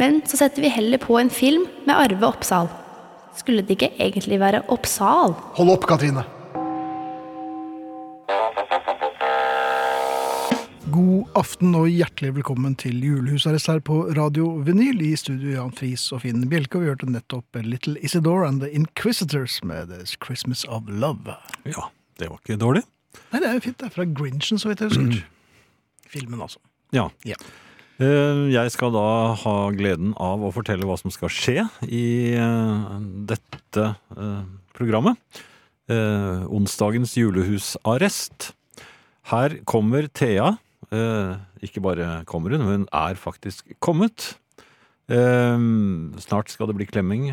men så setter vi heller på en film med Arve Oppsal. Skulle det ikke egentlig være Oppsal? Hold opp, Katrine. God aften og hjertelig velkommen til julehusarrest her på Radio Vinyl. I studio Jan Friis og Finn Bjelke. Og vi hørte nettopp Little Isidore and The Inquisitors med This Christmas of Love. Ja, det var ikke dårlig. Nei, det er jo fint. Det er fra Grinchen, så vidt jeg husker. Mm. Filmen, altså. Ja. Ja. Eh, Jeg skal da ha gleden av å fortelle hva som skal skje i eh, dette eh, programmet. Eh, Onsdagens julehusarrest. Her kommer Thea. Eh, Ikke bare kommer hun, hun er faktisk kommet. Eh, Snart skal det bli klemming.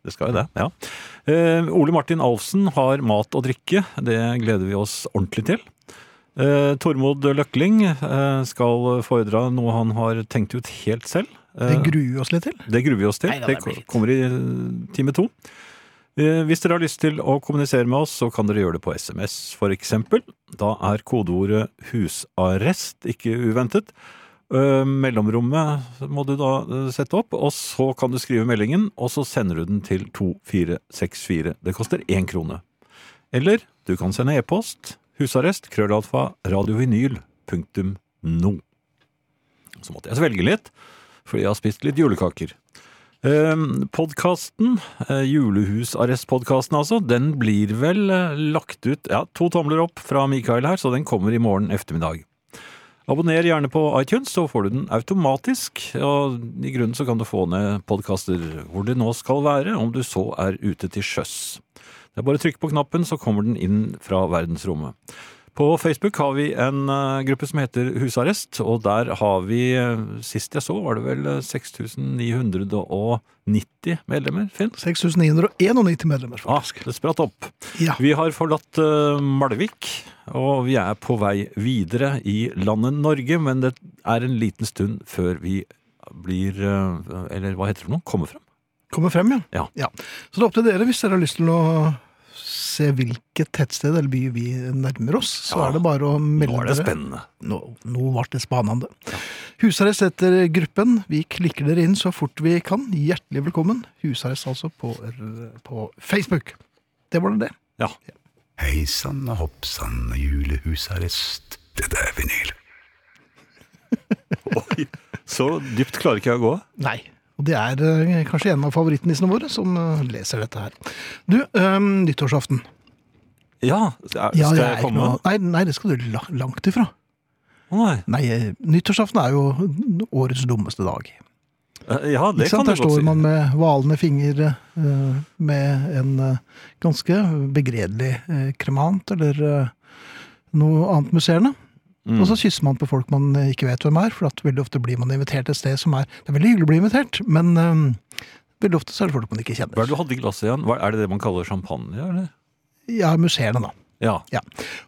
Det skal jo det, ja. Eh, Ole Martin Alfsen har mat og drikke. Det gleder vi oss ordentlig til. Eh, Tormod Løkling eh, skal foredra noe han har tenkt ut helt selv. Eh, Det gruer vi oss litt til. det gruer vi oss til. Neida, det det blir fint. kommer i eh, time to. Eh, Hvis dere har lyst til å kommunisere med oss, så kan dere gjøre det på SMS f.eks. Da er kodeordet 'husarrest' ikke uventet. Eh, Mellomrommet må du da eh, sette opp, og så kan du skrive meldingen, og så sender du den til 2464. Det koster én krone. Eller du kan sende e-post husarrest krøllalfa radiovinyl.no. Så måtte jeg svelge litt, fordi jeg har spist litt julekaker. Eh, Podkasten, eh, julehusarrestpodkasten altså, den blir vel eh, lagt ut ja, to tomler opp fra Mikael her, så den kommer i morgen eftermiddag. Abonner gjerne på iTunes, så får du den automatisk. Og i grunnen så kan du få ned podkaster hvor det nå skal være, om du så er ute til sjøs. Det er bare å trykke på knappen, så kommer den inn fra verdensrommet. På Facebook har vi en eh, gruppe som heter Husarrest, og der har vi, eh, sist jeg så, var det vel eh, 6990 medlemmer, Finn? 6991 medlemmer, Ah, faktisk. det spratt opp. Ja. Vi har forlatt eh, Malvik, og vi er på vei videre i landet Norge, men det er en liten stund før vi blir, eh, eller hva heter det for noe, kommer fram. Kommer frem, ja. Ja. Så det er opp til dere hvis dere har lyst til å se hvilket tettsted eller by vi nærmer oss. Så Ja. er det bare å melde Nå er det dere. spennende. Nå, nå ble det spanende. Husarrest etter gruppen. Vi klikker dere inn så fort vi kan. Hjertelig velkommen. Husarrest altså på, r- på Facebook. Det var det. Ja, Hei sann og hopp sann og julehusarrest. Dette er vinyl. så dypt klarer ikke jeg å gå. Nei. Og det er eh, kanskje en av favorittnissene våre som eh, leser dette her. Du, øhm, nyttårsaften. Ja, skal Ja, jeg jeg er ikke komme? noe- Nei, nei, det skal du la- langt ifra. Å, Nei. Nei, eh, nyttårsaften er jo årets dummeste dag. Eh, Ja, det Ikke sant? Der kan du godt står si. man med valende finger eh, med en eh, ganske begredelig eh, kremant eller eh, noe annet musserende. Mm. Og så kysser man på folk man eh, ikke vet hvem er, for at veldig ofte blir man invitert et sted som er Det er veldig hyggelig å bli invitert, men eh, veldig ofte så er det folk man ikke Hva er det kjenner. du hadde i glasset igjen? Hva, er det det man kaller champagne, eller? Ja, musserende, da. Ja. Ja.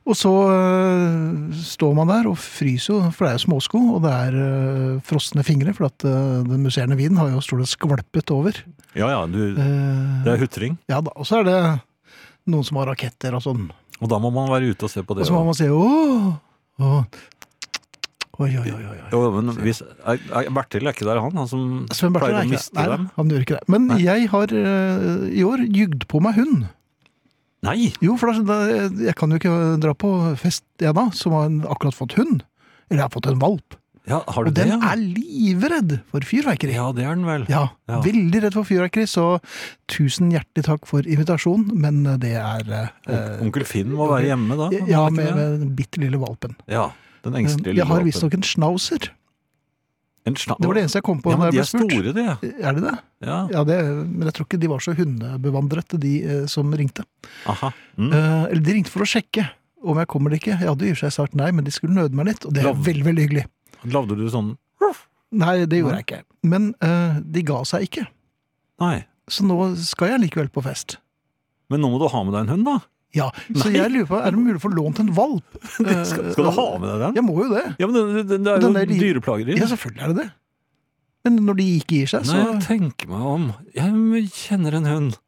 Og så øh, står man der og fryser jo, for det er jo småsko, og det er øh, frosne fingre, for at øh, den musserende vinen har jo stort sett skvalpet over. ja, ja, du, Eh, det er hutring. ja da, og så er det noen som har raketter og sånn. Og da må man være ute og se på Og det. så må også. man si åh, åh. Oi, oi, oi, oi. oi. Jo, men hvis, er, er Bertil er ikke der, han? Han som Sven Bertil pleier er å ikke miste det. Nei, dem? han gjør ikke det. Men Nei. jeg har øh, i år jugd på meg hund. Nei! Jo, for da, da, jeg kan jo ikke dra på fest, jeg da, som har akkurat fått hund. Eller jeg har fått en valp. Ja, har du Og den det? ja? er livredd for fyrverkeri. ja, det er den vel. Ja, Ja. veldig redd for fyrverkeri, så tusen hjertelig takk for invitasjonen, men det er eh, Onk- Onkel Finn må være hjemme da? kan Ja, han ikke med, det? med den bitte lille valpen. ja den engstelige Eh, Jeg har valpen. visstnok en schnauzer. En sna- Det var det eneste jeg kom på. ja, da jeg men De ble er spurt. store, de. ja. Er de det? Ja. Ja, det, men jeg tror ikke de var så hundebevandrete, de eh, som ringte. Aha. Mm. Eh, eller de ringte for å sjekke om jeg kommer eller ikke. Jeg hadde i og for seg sagt nei, men de skulle nøde meg litt, og det er Lov. veldig, veldig hyggelig. Lagde du sånn Nei, det gjorde jeg ikke. Men eh, de ga seg ikke. Nei. Så nå skal jeg likevel på fest. Men nå må du ha med deg en hund, da. Ja, Så jeg lurer på, er det mulig å få lånt en valp? Skal, skal du ha med deg den? Jeg må jo det. Ja, men den, den, det Eh, er Den er jo li- dyreplageri. Ja, selvfølgelig er det det. Men når de ikke gir seg, Nei, så jeg tenker meg om. Jeg kjenner en hund.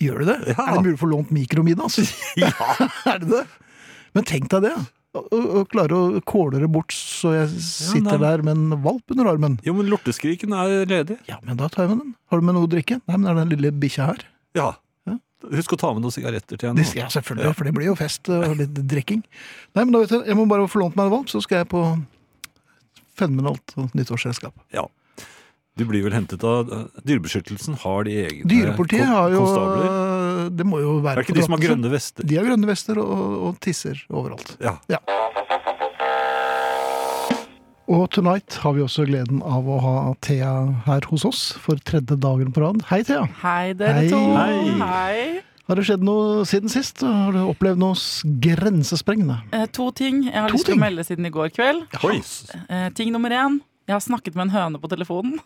gjør de det. Ja. Er det mulig å få lånt altså? mikromidas? Ja. er det det? Men tenk deg det. Å å- å klare å kåle det bort så jeg sitter nei. der med en valp under armen. Jo, men lorteskriken er ledig. Ja, men da tar jeg med den. Har du med noe å drikke? Nei, men det er den lille bikkja her. Ja. Ja. Husk å ta med noen sigaretter til De henne. sier ja, selvfølgelig, for det blir jo fest og litt drikking. Nei, men da vet jeg, jeg må bare få lånt meg en valp, så skal jeg på fenomenalt nyttårsselskap. Ja. Du blir vel hentet av eh, Dyrebeskyttelsen har de egne Dyrepolitiet kon- har jo Eh, eh, konstabler. Det må jo Er være det ikke de som har gaten, så- grønne vester? De har grønne vester og, og tisser overalt. Ja. Ja. Og tonight har vi også gleden av å ha Thea her hos oss for tredje dagen på rad. Hei, Thea. Hei, dere Hei. to. Hei. Har det skjedd noe siden sist? Har du opplevd noe s- grensesprengende? Eh, to ting jeg har To lyst til ting? å melde siden i går kveld. Oi! Eh, ting nummer én. Jeg har snakket med en høne på telefonen.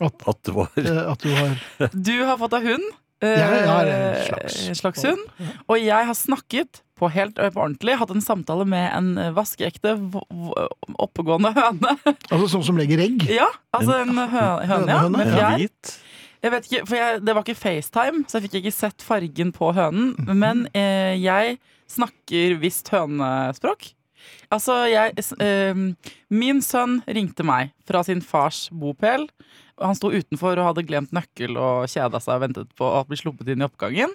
At det var Eh, At du har Du har fått deg hund. eh, Jeg har en slags- en slags hund. Og jeg har snakket på helt eh, på ordentlig, hatt en samtale med en eh, vaskeekte, v- v- oppegående høne. Altså sånn som legger egg? Ja, altså en hø høne, ja, hønehøne, med en fjær. hvit. Jeg vet ikke, for jeg, Det var ikke FaceTime, så jeg fikk ikke sett fargen på hønen. Men eh, jeg snakker visst hønespråk. Altså, jeg s- eh, Min sønn ringte meg fra sin fars bopel. Og Han sto utenfor og hadde glemt nøkkel og kjeda seg og ventet på å bli sluppet inn i oppgangen.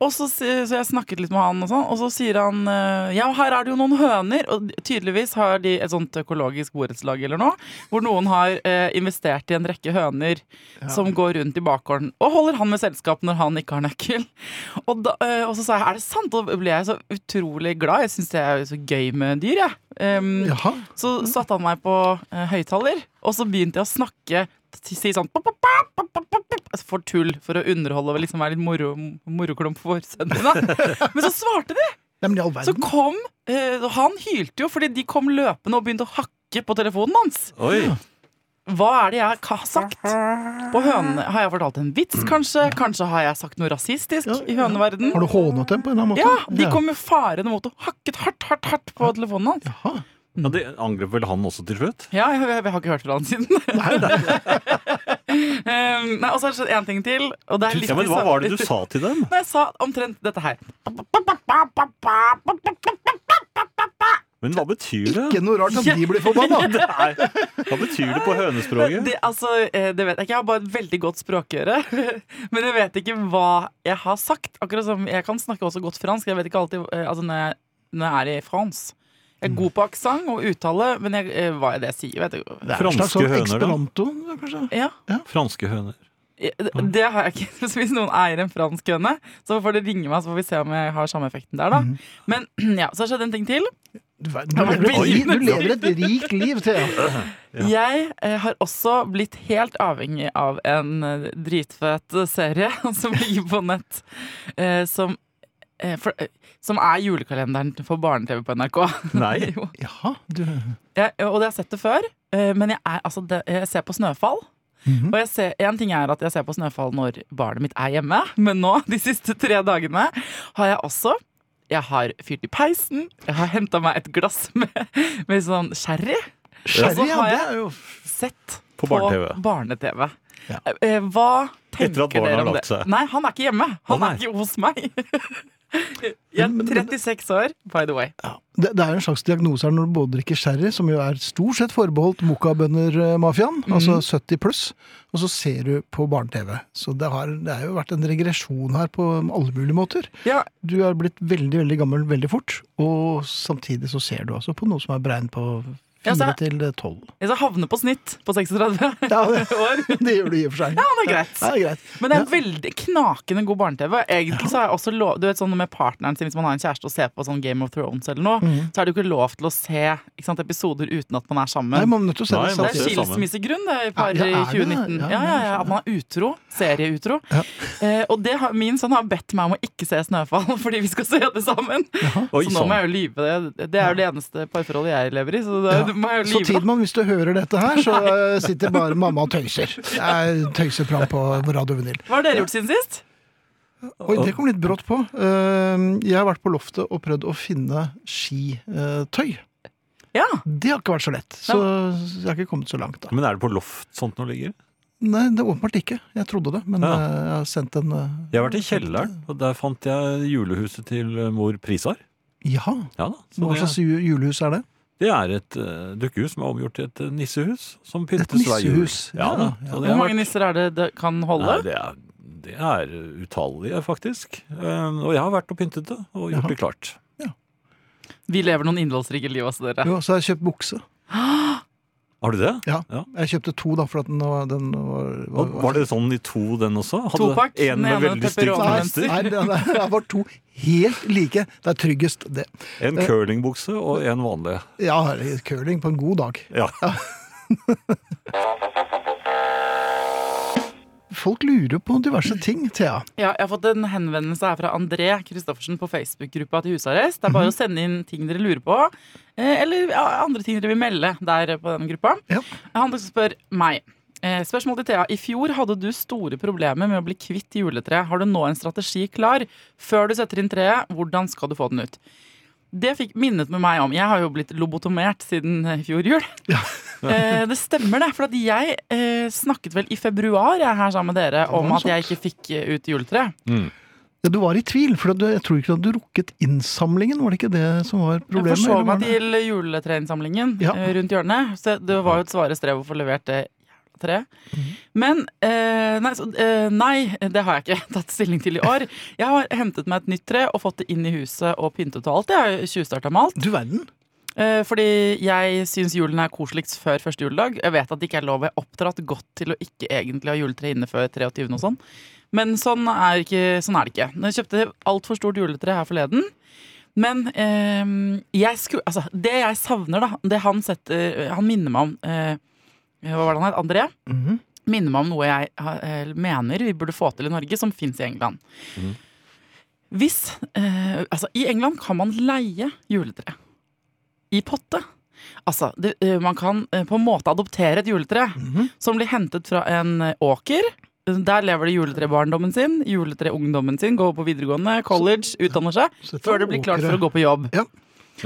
Og så, si- så jeg snakket litt med han, og sånn Og så sier han eh, Ja, her er det jo noen høner. Og tydeligvis har de et sånt økologisk borettslag eller noe, hvor noen har eh, investert i en rekke høner som går rundt i bakgården og holder han med selskap når han ikke har nøkkel. Og, da, eh, og så sa jeg er det sant? Og da ble jeg så utrolig glad. Jeg syns det er jo så gøy med dyr, jeg. Em, Jaha. Så satte han meg på eh, høyttaler, og så begynte jeg å snakke si si sånn pop, pop, pop, pop, pop, pop, pop, altså for tull, for å underholde og liksom være litt moro, moroklump for sønnen min. da. Men så svarte de! Nei, men i all Så verden. kom eh, Han hylte jo fordi de kom løpende og begynte å hakke på telefonen hans. Oi! Hva er det jeg har sagt på hønene? Har jeg fortalt en vits, kanskje? Kanskje har jeg sagt noe rasistisk Ja, i høneverden? Har du hånet dem på en eller annen Ja, måte? De kom jo farende mot og hakket hardt hardt, hardt på telefonen hans. Mm. Jaha. Ja, det angrep vel han også til slutt? Ja, jeg, jeg, jeg har ikke hørt fra han siden. um, nei, og så har det skjedd én ting til. Og det er litt Ja, men Hva bizarr- var det du sa til dem? Nei, Jeg sa omtrent dette her. Men hva betyr Ikke det? noe rart at de blir forbanna! Det er, hva betyr det på hønespråket? Det, altså, eh, det vet jeg ikke. Jeg har bare et veldig godt språkøre. Men jeg vet ikke hva jeg har sagt. Akkurat som Jeg kan snakke også godt fransk. Jeg vet ikke alltid eh, altså, når, jeg, når jeg er i France. Jeg er god på aksent og uttale, men jeg, eh, hva er det jeg sier? Vet jeg, ikke. Det er en slags Franske sånn høner, da. Esperanto, kanskje? ja. Franske høner. Det det har jeg ikke. Så hvis noen eier en fransk høne, så får det ringe meg, så får vi se om jeg har samme effekten der, da. Men ja, så har det skjedd en ting til. Du, ver- du, lever, et, Oi. li- du lever et rikt liv, Thea. Jeg eh, har også blitt helt avhengig av en eh, dritfet serie som ligger på nett, eh, som eh, for, eh, som er julekalenderen for barne-TV på NRK. Nei. Jo. Jaha, du jeg, og det har jeg sett det før, eh, men jeg, er, altså, det, jeg ser på snøfall. Mhm. Og jeg ser, en ting er at jeg ser på snøfall når barnet mitt er hjemme, men nå, de siste tre dagene, har jeg også Jeg har fyrt i peisen, jeg har henta meg et glass med, med sånn sherry. Og Sherry, så ja. har Det jeg- er jo Sett På barne-TV. barne-TV. Ja. Eh, Hva tenker Etter at barna dere om har det? lagt seg. Nei, han er ikke hjemme. Han Å, nei. er ikke hos meg. Jeg Men- men- er 36 år, by the way. Det, det er jo en slags diagnose her når du både drikker sherry, som jo er stort sett forbeholdt mokabønder-mafiaen, Mhm. altså 70 pluss, og så ser du på barne-TV. Så det har, det har jo vært en regresjon her på alle mulige måter. Ja, Du er blitt veldig, veldig gammel veldig fort, og samtidig så ser du altså på noe som er beregnet på Ja, så er- Fire til eh, tolv. Jeg skal havne på snitt på 36 Ja, det, år. det gjør du i og for seg. Ja, det er greit. Ja, det er greit. Men det er veldig knakende god barne-TV. Egentlig så er jeg også lov, du vet sånn med partneren sin, Hvis man har en kjæreste og ser på sånn Game of Thrones, eller noe, Mm. så er det jo ikke lov til å se ikke sant, episoder uten at man er sammen. Nei, man er nødt til å se Nei, det man det er samtidig. ser det sammen. skilsmissegrunn det, i par Ja, i ja, er det det? 2019. Ja, Ja, ja, ja, At man er utro. Serieutro. Ja. Eh, og det har, min sønn har bedt meg om å ikke se 'Snøfall', fordi vi skal se det sammen. Oi, så nå må sånn. jeg jo lyve. Det Det er jo det eneste parforholdet jeg lever i, så da Ja. må jeg jo Så lyve. Tidmann, hvis du hører dette her, så eh, sitter bare mamma og tøyser. Jeg tøyser fram på Radio Vinyl. Hva har dere gjort siden sist? Oi, det kom litt brått på. Eh, Jeg har vært på loftet og prøvd å finne skitøy. Ja. Det har ikke vært så lett, så jeg har ikke kommet så langt. da. Men er det på loft sånt noe ligger? Nei, det er åpenbart ikke. Jeg trodde det, men Ja. eh, jeg har sendt en eh, Jeg har vært i kjelleren, og der fant jeg julehuset til eh, mor Prisar. Ja, Ja da. Så hva det, slags ju- julehus er det? det er et eh, dukkehus som er omgjort til et eh, nissehus, som Et pyntes hver jul. nissehus, Ja, ja, da. ja. Så det Hvor har mange nisser er det det kan holde? Nei, det er, det er eh, utallige, faktisk. Um, og jeg har vært og pyntet det, og gjort Jaha. det klart. Vi lever noen innholdsrike liv, altså, dere. Jo, så har jeg kjøpt bukse. Har du det? Ja. Ja. Jeg kjøpte to, da, for at den var, den var, Og var det sånn i to, den også? Hadde Topakk, den en med ene veldig stygt pepperoni. Nei, mønster, nei, det det var to helt like. Det er tryggest, det. en curlingbukse og en vanlig. Ja, curling på en god dag. Ja. Folk lurer på diverse ting, Thea. Ja, jeg har fått en henvendelse her fra André Kristoffersen på Facebook-gruppa til husarrest. Det er bare å sende inn ting dere lurer på, eh, eller ja, andre ting dere vil melde der på den gruppa. Ja. Han spør meg. eh, Spørsmål til Thea. I fjor hadde du store problemer med å bli kvitt juletreet. Har du nå en strategi klar? Før du setter inn treet, hvordan skal du få den ut? Det fikk minnet med meg om Jeg har jo blitt lobotomert siden eh, i fjor jul. Eh, det stemmer, det. For at jeg eh, snakket vel i februar jeg er her sammen med dere om noe at jeg ikke fikk eh, ut juletreet. Ja, du var i tvil, for du, jeg tror ikke du hadde rukket innsamlingen. Var det ikke det som var problemet? Jeg forsov eller var meg det- til juletreinnsamlingen Ja. eh, rundt hjørnet. Så det var jo et svare strev å få levert det jævla treet. Mhm. Men eh, nei, så, eh, nei, det har jeg ikke tatt stilling til i år. Jeg har hentet meg et nytt tre og fått det inn i huset og pyntet og alt. Jeg har tjuvstarta med alt. Du verden. Eh, fordi jeg syns julen er koseligst før første juledag. Jeg vet at det ikke er lov. Jeg er oppdratt godt til å ikke egentlig ha juletre inne før 23. og sånn. Men sånn er, ikke, sånn er det ikke. Når Jeg kjøpte altfor stort juletre her forleden. Men eh, jeg sku, altså, det jeg savner, da Det han setter Han minner meg om eh, Hva var det han het? André? Minner meg om noe jeg eh, mener vi burde få til i Norge, som fins i England. Hvis eh, Altså, i England kan man leie juletre i potte. Altså, det, eh, man kan eh, på en måte adoptere et juletre som blir hentet fra en eh, åker. Der lever det juletrebarndommen sin, juletreungdommen sin, går på videregående, college, utdanner seg. Så dette Før er det blir klart åkre. for å gå på jobb.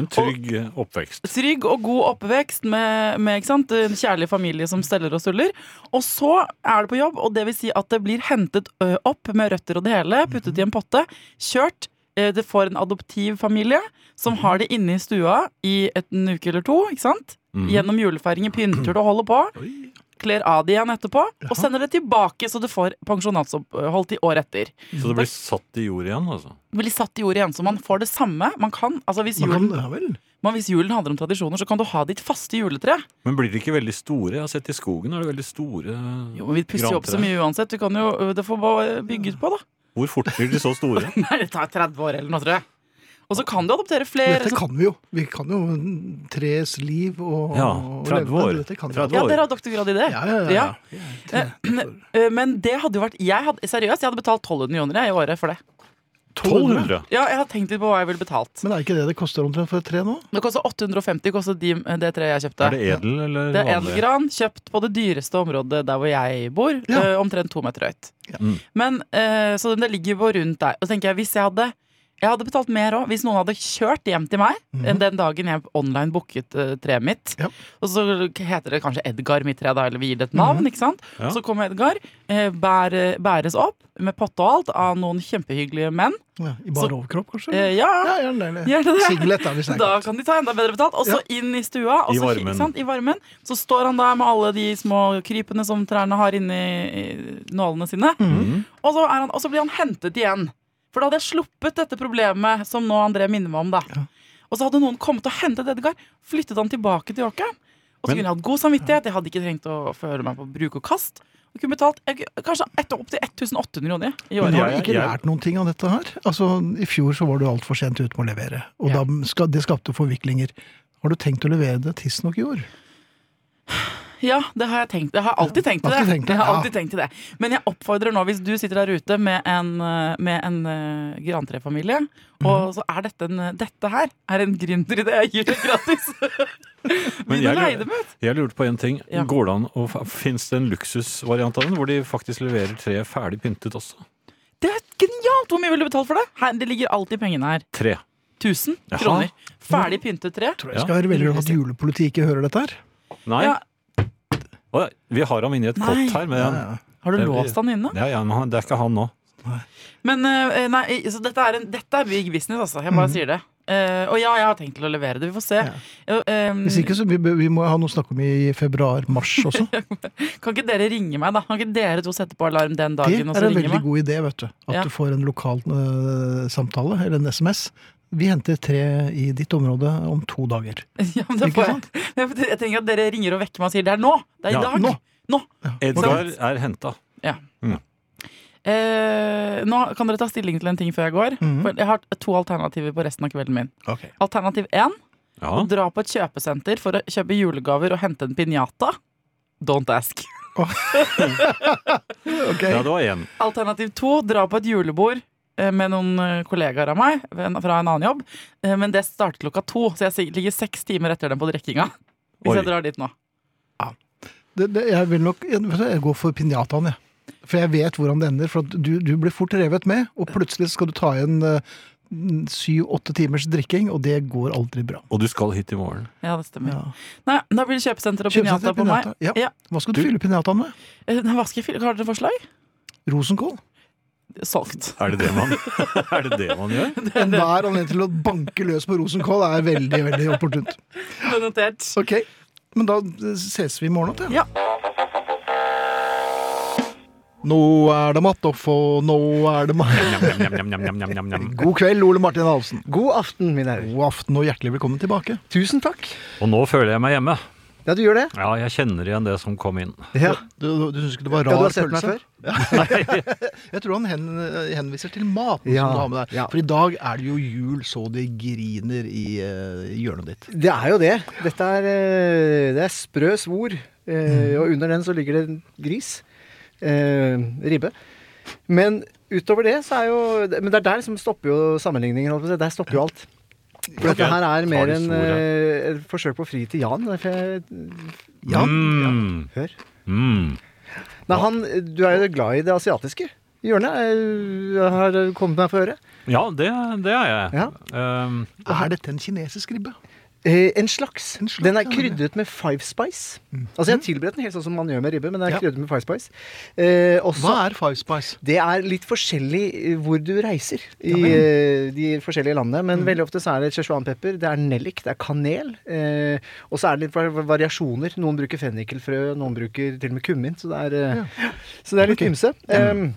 En trygg eh, oppvekst. Trygg og god oppvekst med, med ikke sant? en kjærlig familie som steller og stuller. Og så er det på jobb, og det vil si at det blir hentet ø, opp med røtter og det hele, Mhm. puttet i en potte, kjørt. eh, Det får en adoptiv familie som har det inne i stua i et, en uke eller to. ikke sant? Mhm. Gjennom julefeiringer, pynter det og holder på. Kler av det igjen etterpå, og sender det tilbake så du får pensjonatsopphold til året etter. Så det blir satt i jord igjen, altså. Det blir satt i jordet igjen, så man får det samme. Man kan, altså hvis Man kan, julen, ja vel. men hvis julen handler om tradisjoner, så kan du ha ditt faste juletre. Men blir de ikke veldig store? Jeg har sett i skogen er det veldig store Jo, men Vi pusser jo opp så grantre. mye uansett. Du kan jo, øh, det får bare bygget på, da. Hvor fort blir de så store? Nei, Det tar 30 år eller noe, tror jeg. Og så kan du adoptere flere. Dette så- kan vi jo. Vi kan jo tres liv og Ja, og 30 levende. år. Dette kan vi. 30 ja, dere har doktorgrad i det. Ja, ja, ja. Ja. ja. Eh, Men det hadde jo vært jeg hadde, Seriøst, jeg hadde betalt 1200 kroner jeg, i året for det. 1200! Ja, Jeg hadde tenkt litt på hva jeg ville betalt. Men er ikke det det koster omtrent for et tre nå? Det koster 850 kostet de, øh, det treet jeg kjøpte. Er det edel eller Det er vanlig? edelgran, kjøpt på det dyreste området der hvor jeg bor. Ja. eh, omtrent to meter høyt. Ja. Mm. Men, eh, så det ligger jo rundt der. Og så tenker jeg, hvis jeg hadde jeg hadde betalt mer òg. Hvis noen hadde kjørt hjem til meg eh, den dagen jeg online booket eh, treet mitt, Mhm. Ja. og så heter det kanskje Edgar mitt tre, da, eller vi gir det et navn, Mhm. ikke sant? Ja. Så kommer Edgar, eh, bære- bæres opp med potte og alt av noen kjempehyggelige menn. Ja, I bar Så- overkropp, kanskje? Eh, ja, Mm. ja, gjerne det. Gjør det det? Singlet, da, hvis det er da kaldt. kan de ta enda bedre betalt. Og så inn i stua. Og I så, varmen. ikke Sant, I varmen. Så står han der med alle de små krypene som trærne har inni i nålene sine. Og, så er han, og så blir han hentet igjen. For da hadde jeg sluppet dette problemet som nå André minner meg om. da Og så hadde noen kommet og hentet Edgar, flyttet han tilbake til åkeren. Og så Men- kunne jeg hatt god samvittighet. Jeg hadde ikke trengt å føle meg på bruk og kast. Og kunne betalt jeg, kanskje etter, opp til 1800 kroner i Men året. har du jeg- ikke jeg- lært noen ting av dette her? Altså, I fjor så var du altfor sent ute med å levere, og Ja. da ska- det skapte forviklinger. Har du tenkt å levere det tidsnok i år? Ja, det har jeg tenkt. Jeg har alltid tenkt til det. Alltid tenkt det, Jeg har ja. alltid tenkt til det. Men jeg oppfordrer nå, hvis du sitter der ute med en, eh, med en eh, grantrefamilie, og så er dette en eh, Dette her er en gründeridé jeg gir deg gratis! Men Begynn å jeg- leie dem ut! Jeg lurte på en ting. Ja. Går det an å, Fins det en luksusvariant av den, hvor de faktisk leverer tre ferdig pyntet også? Det er genialt! Hvor mye vil du betale for det? Her, det ligger alltid pengene her. Tre. 1000 Jaha. kroner. Ferdig pyntet tre. Tror Ja. jeg skal være veldig glad for at julepolitiet ikke hører dette her. Nei, Ja, Å, vi har ham inni et Nei. kott her. Men, har du Det blir- låst han inne? ja, ja, men han- det er ikke han nå. Men eh, nei, så dette er, en, dette er big business, altså. Jeg bare sier det. Eh, og ja, jeg har tenkt til å levere det. Vi får se. Eh, ehm, Hvis ikke, så vi, bør- vi må ha noe å snakke om i februar-mars også. Kan ikke dere ringe meg, da? Kan ikke dere to sette på alarm den Det dagen og er så en ringe veldig meg? god idé, vet du. At Ja. du får en lokal øh, samtale, eller en SMS. Vi henter tre i ditt område om to dager. Ja, men det Ikke får jeg. Jeg jeg trenger at dere ringer og vekker meg og sier det er nå! Det er i Ja, dag! Nå! nå. Edgar er henta. Eh, nå kan dere ta stilling til en ting før jeg går. Mhm. For jeg har to alternativer på resten av kvelden min. Okay. Alternativ én Ja. dra på et kjøpesenter for å kjøpe julegaver og hente en piñata. Don't ask. ja, det var én. Alternativ to dra på et julebord eh, med noen eh, kollegaer av meg ven- fra en annen jobb. Eh, Men det starter klokka to, så jeg sig- ligger seks timer etter dem på drikkinga. Hvis Oi. jeg drar dit nå. Det, det, jeg vil nok jeg, vet du, jeg går for pinjataen, jeg. For jeg vet hvordan det ender. For at du, du blir fort revet med, og plutselig skal du ta igjen eh, syv-åtte timers drikking, og det går aldri bra. Og du skal hit i morgen. Ja, det stemmer. Ja. Nei, da blir det kjøpesenter og Kjøpesenter piñata og på meg. pinata, ja. Ja. Hva skal du, fylle pinjataen med? Eh, Hva skal jeg fylle? Har dere forslag? Rosenkål? Solgt. Er det det man, er det det man gjør? Enhver anledning til å banke løs på rosenkål er veldig, veldig opportunt. Det er Notert. Ok, men da ses vi i morgen, da. Ja. Nå er det Mattoff, og nå er det meg. Njam, njam, njam, njam, njam, njam, njam. God kveld, Ole Martin Halsen. God aften, min herre. God aften og hjertelig velkommen tilbake. Tusen takk. Og nå føler jeg meg hjemme. Ja, du gjør det? Ja, jeg kjenner igjen det som kom inn. Ja, Du, du, du syns ikke det var ja du rar har sett meg følelse? før? Jeg tror han hen, eh, henviser til maten Ja, som du har med deg. ja. For i dag er det jo jul så det griner i eh, hjørnet ditt. Det er jo det. Dette er, eh, det er sprø svor. Eh, Mm. Og under den så ligger det en gris. Eh, ribbe. Men utover det så er jo Men det er der som stopper jo sammenligningen. holdt på å si. Der stopper jo alt. For dette her er Har mer du en, svor, ja? eh, et forsøk på å fri til Jan. Derfor jeg Jan? Mm. Hør. Mm. Nei, han, du er jo glad i det asiatiske hjørnet. eh, Har kommet meg for øre. Ja, det, det er jeg. Ja. Um, Er dette en kinesisk ribbe? Eh, en, slags. En slags, Den er ja, Mm. krydret med five spice. Altså Jeg har tilberedt den helt sånn som man gjør med ribbe, men den er Ja. krydret med five spice. Eh, Hva også, er five spice? det er litt forskjellig eh, hvor du reiser i eh, de forskjellige landene, Mm. men veldig ofte så er det szechuanpepper, det er nellik, det er kanel. Eh, og så er det litt var- variasjoner. Noen bruker fennikelfrø, noen bruker til og med kummin. Så det er, eh, så det er litt ymse. Em,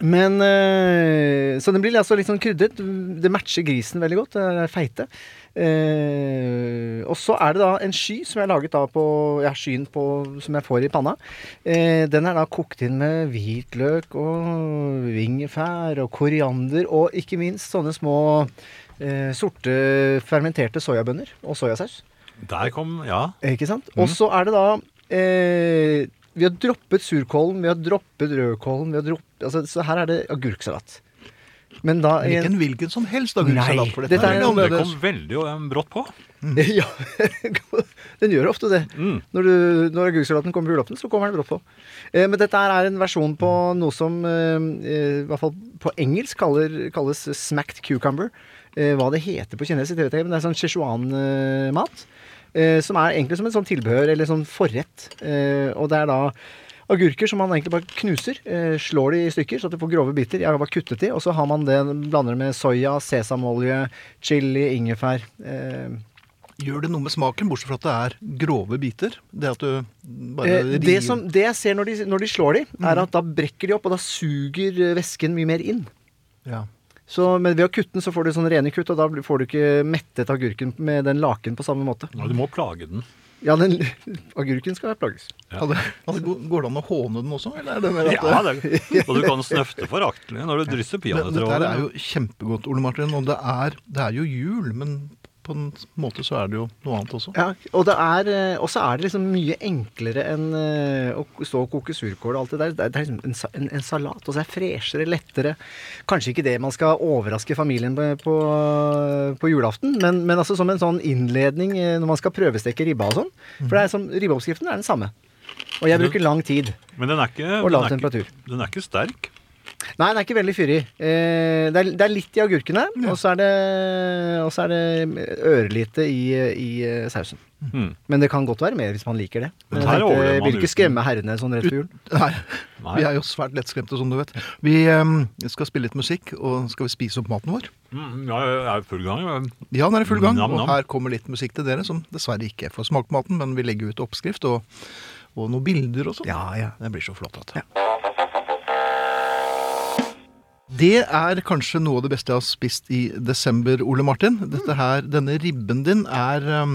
men eh, Så den blir altså litt sånn krydret. Det matcher grisen veldig godt. Den er feite. Eh, og så er det da en sky som jeg har laget da på Ja, skyen på, som jeg får i panna. Eh, den er da kokt inn med hvitløk og vingefær og koriander og ikke minst sånne små eh, sorte fermenterte soyabønner og soyasaus. der kom Ja. Ikke sant? Mm. Og så er det da eh, Vi har droppet surkålen, vi har droppet rødkålen vi har droppet, altså, Så her er det agurksalat. Men da Men ikke en hvilken som helst agurksalat. for Nei, dette dette er er- veldig Det annerledes. kom veldig eh, brått på. Ja, den gjør ofte det. Mm. Når, du, Eh, når agurksalaten kommer på julaften, så kommer den brått på. Eh, men dette her er en versjon på noe som eh, eh, i hvert fall på engelsk kaller, kalles smacked cucumber. Eh, hva det heter på kinesisk, det vet jeg ikke, men det er sånn Sichuan-mat. Eh, som er egentlig som en sånn tilbehør, eller sånn forrett. Eh, og det er da Agurker som man egentlig bare knuser. Eh, slår de i stykker, så at du får grove biter. Jeg har bare kuttet de, og så har man det, blander det med soya, sesamolje, chili, ingefær. Eh, Gjør det noe med smaken, bortsett fra at det er grove biter? Det at du bare Eh, det, river- Mm. som, det jeg ser når de, når de slår de, er at da brekker de opp, og da suger eh, væsken mye mer inn. ja. Så, men ved å kutte den, så får du sånne rene kutt, og da blir- får du ikke mettet agurken med den laken på samme måte. Ja, Du må plage den. Ja, den agurken skal plages. Hadde, hadde, går det an å håne den også? Eller er det mer at Ja, det, er- og du kan snøfte foraktelig når du drysser det, peanøtter dette over her det. er jo kjempegodt, Ole Martin. Og det er, det er jo jul, men på en måte så er det jo noe annet også. Ja, og det er, eh, også er det liksom mye enklere enn eh, å stå og koke surkål og alt det der. Det er, det er liksom en, sa- en, en salat, og så er det freshere, lettere. Kanskje ikke det man skal overraske familien på, på, på julaften, men, men altså som en sånn innledning eh, når man skal prøvesteke ribba og sånn. For det er som, ribbeoppskriften er den samme. Og jeg bruker lang tid. Men den er ikke, Og lav den er temperatur. ikke, den er ikke sterk. Nei, den er ikke veldig fyrig. Eh, det, er, det er litt i agurkene, og så er det, og så er det ørlite i, i eh, sausen. Mm. Men det kan godt være mer hvis man liker det. Men Men jeg her tenkte, overlever man vil ikke uten. skremme herrene sånn rett før jul. Nei, Nei. vi er jo svært lettskremte, som du vet. Vi em, skal spille litt musikk, og skal vi spise opp maten vår? Mm, ja, jeg er i full gang. jeg. Ja, den er i full gang, Nam, og nam. her kommer litt musikk til dere, som dessverre ikke får smake på maten, men vi legger ut oppskrift og, og noen bilder og sånn. Ja, ja. Det blir så flott. At. Det er kanskje noe av det beste jeg har spist i desember, Ole Martin. Dette her, denne ribben din er um,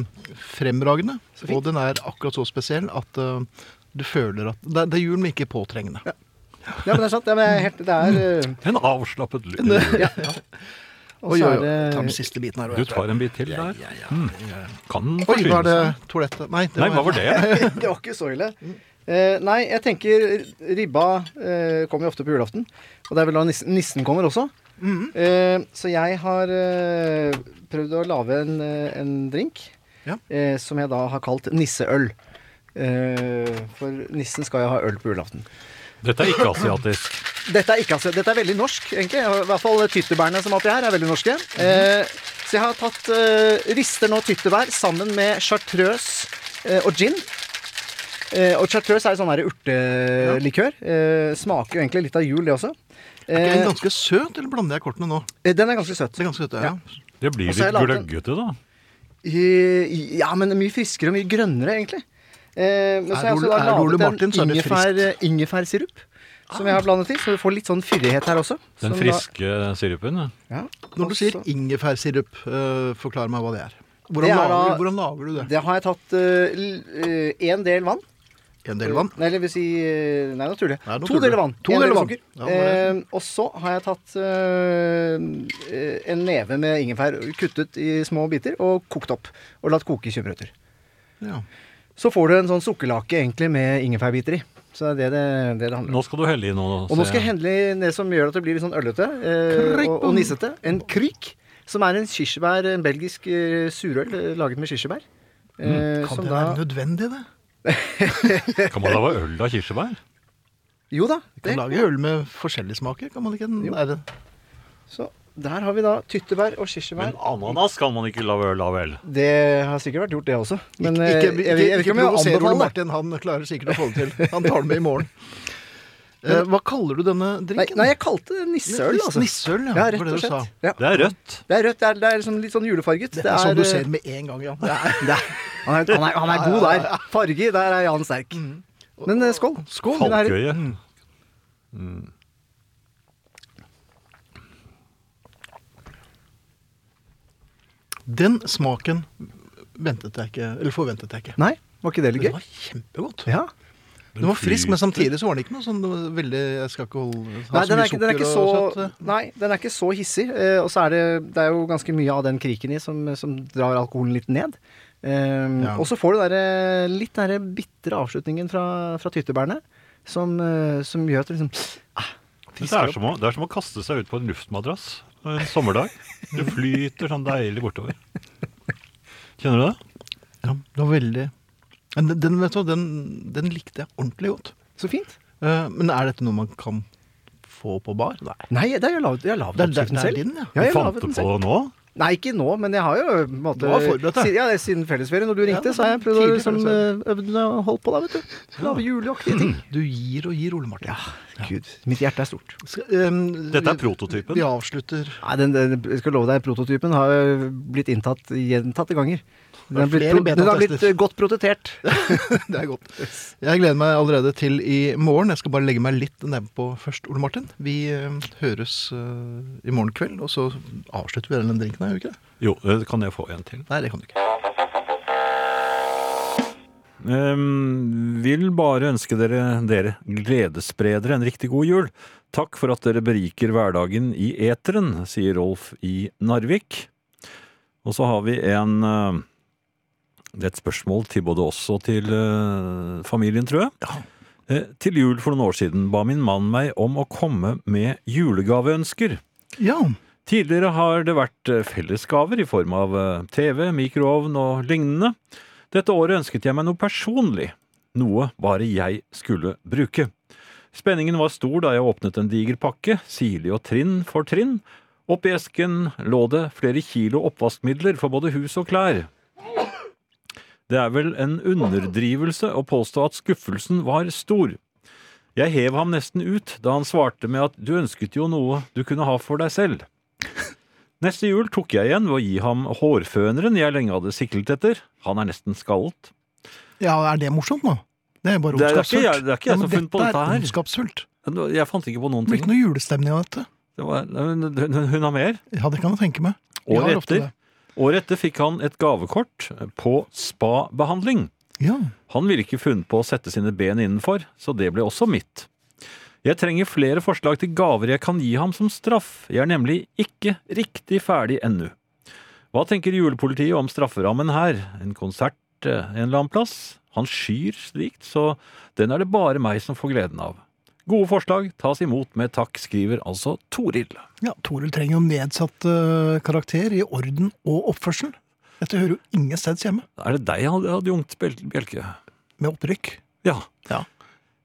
fremragende, og den er akkurat så spesiell at um, du føler at det, det er jul, men ikke påtrengende. Mm. ja, men det er sant. Ja, men jeg er helt, det er, eh, En avslappet lyd. og så Oi, er oi, oi. det Ta den siste biten her. og Du jeg tror- tar en bit til der. Mm. Kan den Oi, var det forsvinne? toalettet? Nei, det Nei, hva var det? Det var ikke så ille. Eh, nei, jeg tenker ribba eh, kommer jo ofte på julaften. Og det er vel da nissen, nissen kommer også. Mhm. Eh, så jeg har eh, prøvd å lage en, eh, en drink Ja. eh, som jeg da har kalt nisseøl. Eh, for nissen skal jo ha øl på julaften. Dette er ikke asiatisk. Dette er, ikke, altså, dette er veldig norsk, egentlig. I hvert fall tyttebærene som er oppi her, er veldig norske. Eh, så jeg har tatt eh, rister nå tyttebær sammen med chartreuse eh, og gin. Eh, og chartreuse er jo sånn her urtelikør. Eh, smaker jo egentlig litt av jul, det også. Er ikke den Eh, ganske søt, eller blander jeg kortene nå? eh, den er ganske søt. Det er ganske søt, ja. Det blir Og så har jeg litt laget en- gløggete, da. Eh, ja, men mye friskere og mye grønnere, egentlig. Eh, men så har jeg Er også Ole- er da Ole Martin, laget så er en det ingefær, ingefærsirup. Som jeg har blandet i, så du får litt sånn fyrighet her også. som Den da- friske sirupen. ja. Ja. Når du sier eh, Også- ingefærsirup, eh, forklar meg hva det er. Det Hvordan, er lager, da- hvordan lager du det? Det har jeg tatt én del vann. En del vann? Nei, eller vil si eh, Nei, nå tuller Nei, jeg. To nå tuller du. deler vann. To en deler del vann. sukker. Ja, men Eh, og så har jeg tatt eh, eh, en neve med ingefær kuttet i små biter og kokt opp. Og latt koke i 20 minutter. Eh, Ja. Så får du en sånn sukkerlake egentlig med ingefærbiter i. Så det er det det, det, det handler om. Nå skal du helle i noe. Og nå ser skal jeg jeg. hente i det som gjør at det blir litt sånn ølete eh, og, og nissete. En kryk, som er en kirsebær, en belgisk eh, surøl eh, laget med kirsebær. Eh, Kan som det da- være nødvendig, det? Kan man lage øl av kirsebær? Jo da. Du kan lage øl med forskjellige smaker, kan man ikke? Er det? Så der har vi da tyttebær og kirsebær. Men ananas kan man ikke lage øl av, vel? Det har sikkert vært gjort, det også. Men ikke eh, ikke, jeg, ikke, vet- jeg vet ikke om jeg provoser Ole anbefaler det. Martin, han klarer sikkert å få det til. Han tar den med i morgen. Eh, hva kaller du denne Nei, drinken? nei, jeg kalte det nisseøl, Nis- altså. nisseøl, ja ja, var rett det og du sa. slett. Ja. Det er rødt. Det er rødt, det er, det er liksom litt sånn julefarget. det er sånn du eh, ser den med en gang, ja. det er, det er, han, er, han, er, han er god der. Farge, der er Jan sterk. Men eh, skål. Skål. Mm. Mine herrer. Mm. Falkøye. Den smaken ventet jeg ikke, eller forventet jeg ikke. Nei, var ikke det litt Den gøy? var kjempegodt. Ja. Den var frisk, men samtidig så var den ikke noe sånn det var veldig Jeg skal ikke holde, ha Nei, den så er, mye ikke, den, er sukker ikke og eh. så, søtt. nei, den er ikke så hissig. eh, Og så er det, det er jo ganske mye av den kriken i som, som drar alkoholen litt ned. Eh, Ja. Og så får du der, eh, litt den der bitre avslutningen fra, fra tyttebærene som, eh, som gjør at det liksom ah, Men Det er, som å, det er som å kaste seg ut på en luftmadrass på en sommerdag. Du flyter sånn deilig bortover. Kjenner du det? Ja, det var veldig Men den- den, vet du, hva, den, den likte jeg ordentlig godt. Så fint. Eh, men er dette noe man kan få på bar? Nei. Nei, det er jo lavet, jeg har lavet Det er- det er- oppskriften det er selv. din, ja. ja. jeg du lavet fant den det selv. på nå? Nei, ikke nå, men jeg har jo på en måte, Du var forberedt, da. siden, ja, det er siden fellesferien, når du ringte, Ja, så har jeg prøvd å tidlig liksom, fellesferie. eh, øvd meg og holdt på da, vet du. Lave juleaktige ting. Du gir og gir, Ole Martin. Ja, gud. Mitt hjerte er stort. Skal, ehm, Dette er vi- prototypen. Vi avslutter Nei, den, den, jeg skal love deg, prototypen har jo blitt inntatt gjentatte ganger. Den har blitt, Flere pro- den har blitt betatester. eh, godt protetert. Det er godt. Jeg gleder meg allerede til i morgen. Jeg skal bare legge meg litt nedpå først, Ole Martin. Vi ehm, høres eh, i morgen kveld, og så avslutter vi den drinken, her, gjør vi ikke det? Jo, eh, kan jeg få en til? Nei, det kan du ikke. Ehm, vil bare ønske dere, dere gledesspredere en riktig god jul. Takk for at dere beriker hverdagen i eteren, sier Rolf i Narvik. Og så har vi en eh, Det er et spørsmål til både oss og til eh, familien, tror jeg. Eh, til jul for noen år siden ba min mann meg om å komme med julegaveønsker. Ja. Tidligere har det vært eh, fellesgaver i form av eh, TV, mikroovn og lignende. Dette året ønsket jeg meg noe personlig, noe bare jeg skulle bruke. Spenningen var stor da jeg åpnet en diger pakke, sirlig og trinn for trinn. Oppi esken lå det flere kilo oppvaskmidler for både hus og klær. Det er vel en underdrivelse å påstå at skuffelsen var stor. Jeg hev ham nesten ut da han svarte med at du ønsket jo noe du kunne ha for deg selv. Neste jul tok jeg igjen ved å gi ham hårføneren jeg lenge hadde siklet etter. Han er nesten skallet. ja, er det morsomt nå? Det er bare Det ondskapsfullt. er- det er ikke jeg- det er ikke jeg Ja, men som har funnet på dette her. er ondskapsfullt. Jeg fant ikke på noen Det blir ting. ikke noe julestemning av dette. Det var, hun, hun har mer. Ja, det kan jeg tenke meg. Vi Året har ofte etter, det. året etter fikk han et gavekort på spabehandling. Ja. Han ville ikke funnet på å sette sine ben innenfor, så det ble også mitt. Jeg trenger flere forslag til gaver jeg kan gi ham som straff. Jeg er nemlig ikke riktig ferdig ennå. Hva tenker julepolitiet om strafferammen her? En konsert eh, en eller annen plass? Han skyr slikt, så den er det bare meg som får gleden av. Gode forslag tas imot med takk, skriver altså Toril. ja, Toril trenger jo nedsatt eh, karakter i orden og oppførsel. Dette hører jo ingen steds hjemme. Er det deg, had- adjunkt Bjel- Bjelke? Med opprykk. Ja. Ja.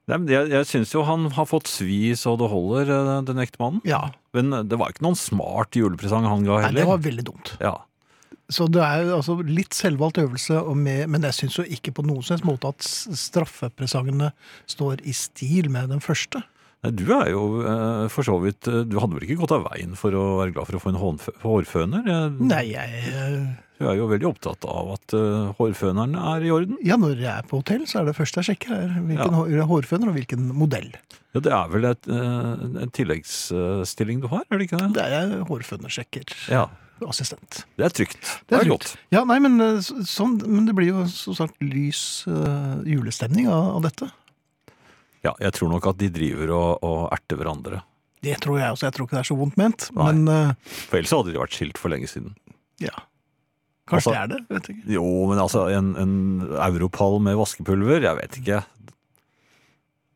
Nei, men jeg jeg syns jo han har fått svi så det holder, eh, den ekte mannen. Ja. Men eh, det var ikke noen smart julepresang han ga Nei, heller. det var veldig dumt. ja. Så det er jo altså litt selvvalgt øvelse, og med, men jeg syns jo ikke på noen som helst måte at s- straffepresangene står i stil med den første. Nei, du er jo eh, for så vidt eh, Du hadde vel ikke gått av veien for å være glad for å få en hånfø- hårføner? Eh, Nei, jeg eh, Du er jo veldig opptatt av at eh, hårføneren er i orden. Ja, når jeg er på hotell, så er det første jeg sjekker, er hvilken hår- hårføner og hvilken modell. Ja, det er vel et, eh, en tilleggsstilling du har, er det ikke det? Det er jeg hårfønersjekker. Ja. Assistent. Det er trygt. Det er trygt. godt. Ja, nei, men, eh, så- sånn, men det blir jo som sagt lys eh, julestemning av, av dette. Ja, jeg tror nok at de driver og, og erter hverandre. Det tror jeg også. Jeg tror ikke det er så vondt ment. Nei. Men eh, For ellers hadde de vært skilt for lenge siden. ja. Kanskje Altså- det er det. Vet ikke. Jo, men altså, en, en europall med vaskepulver, jeg vet ikke.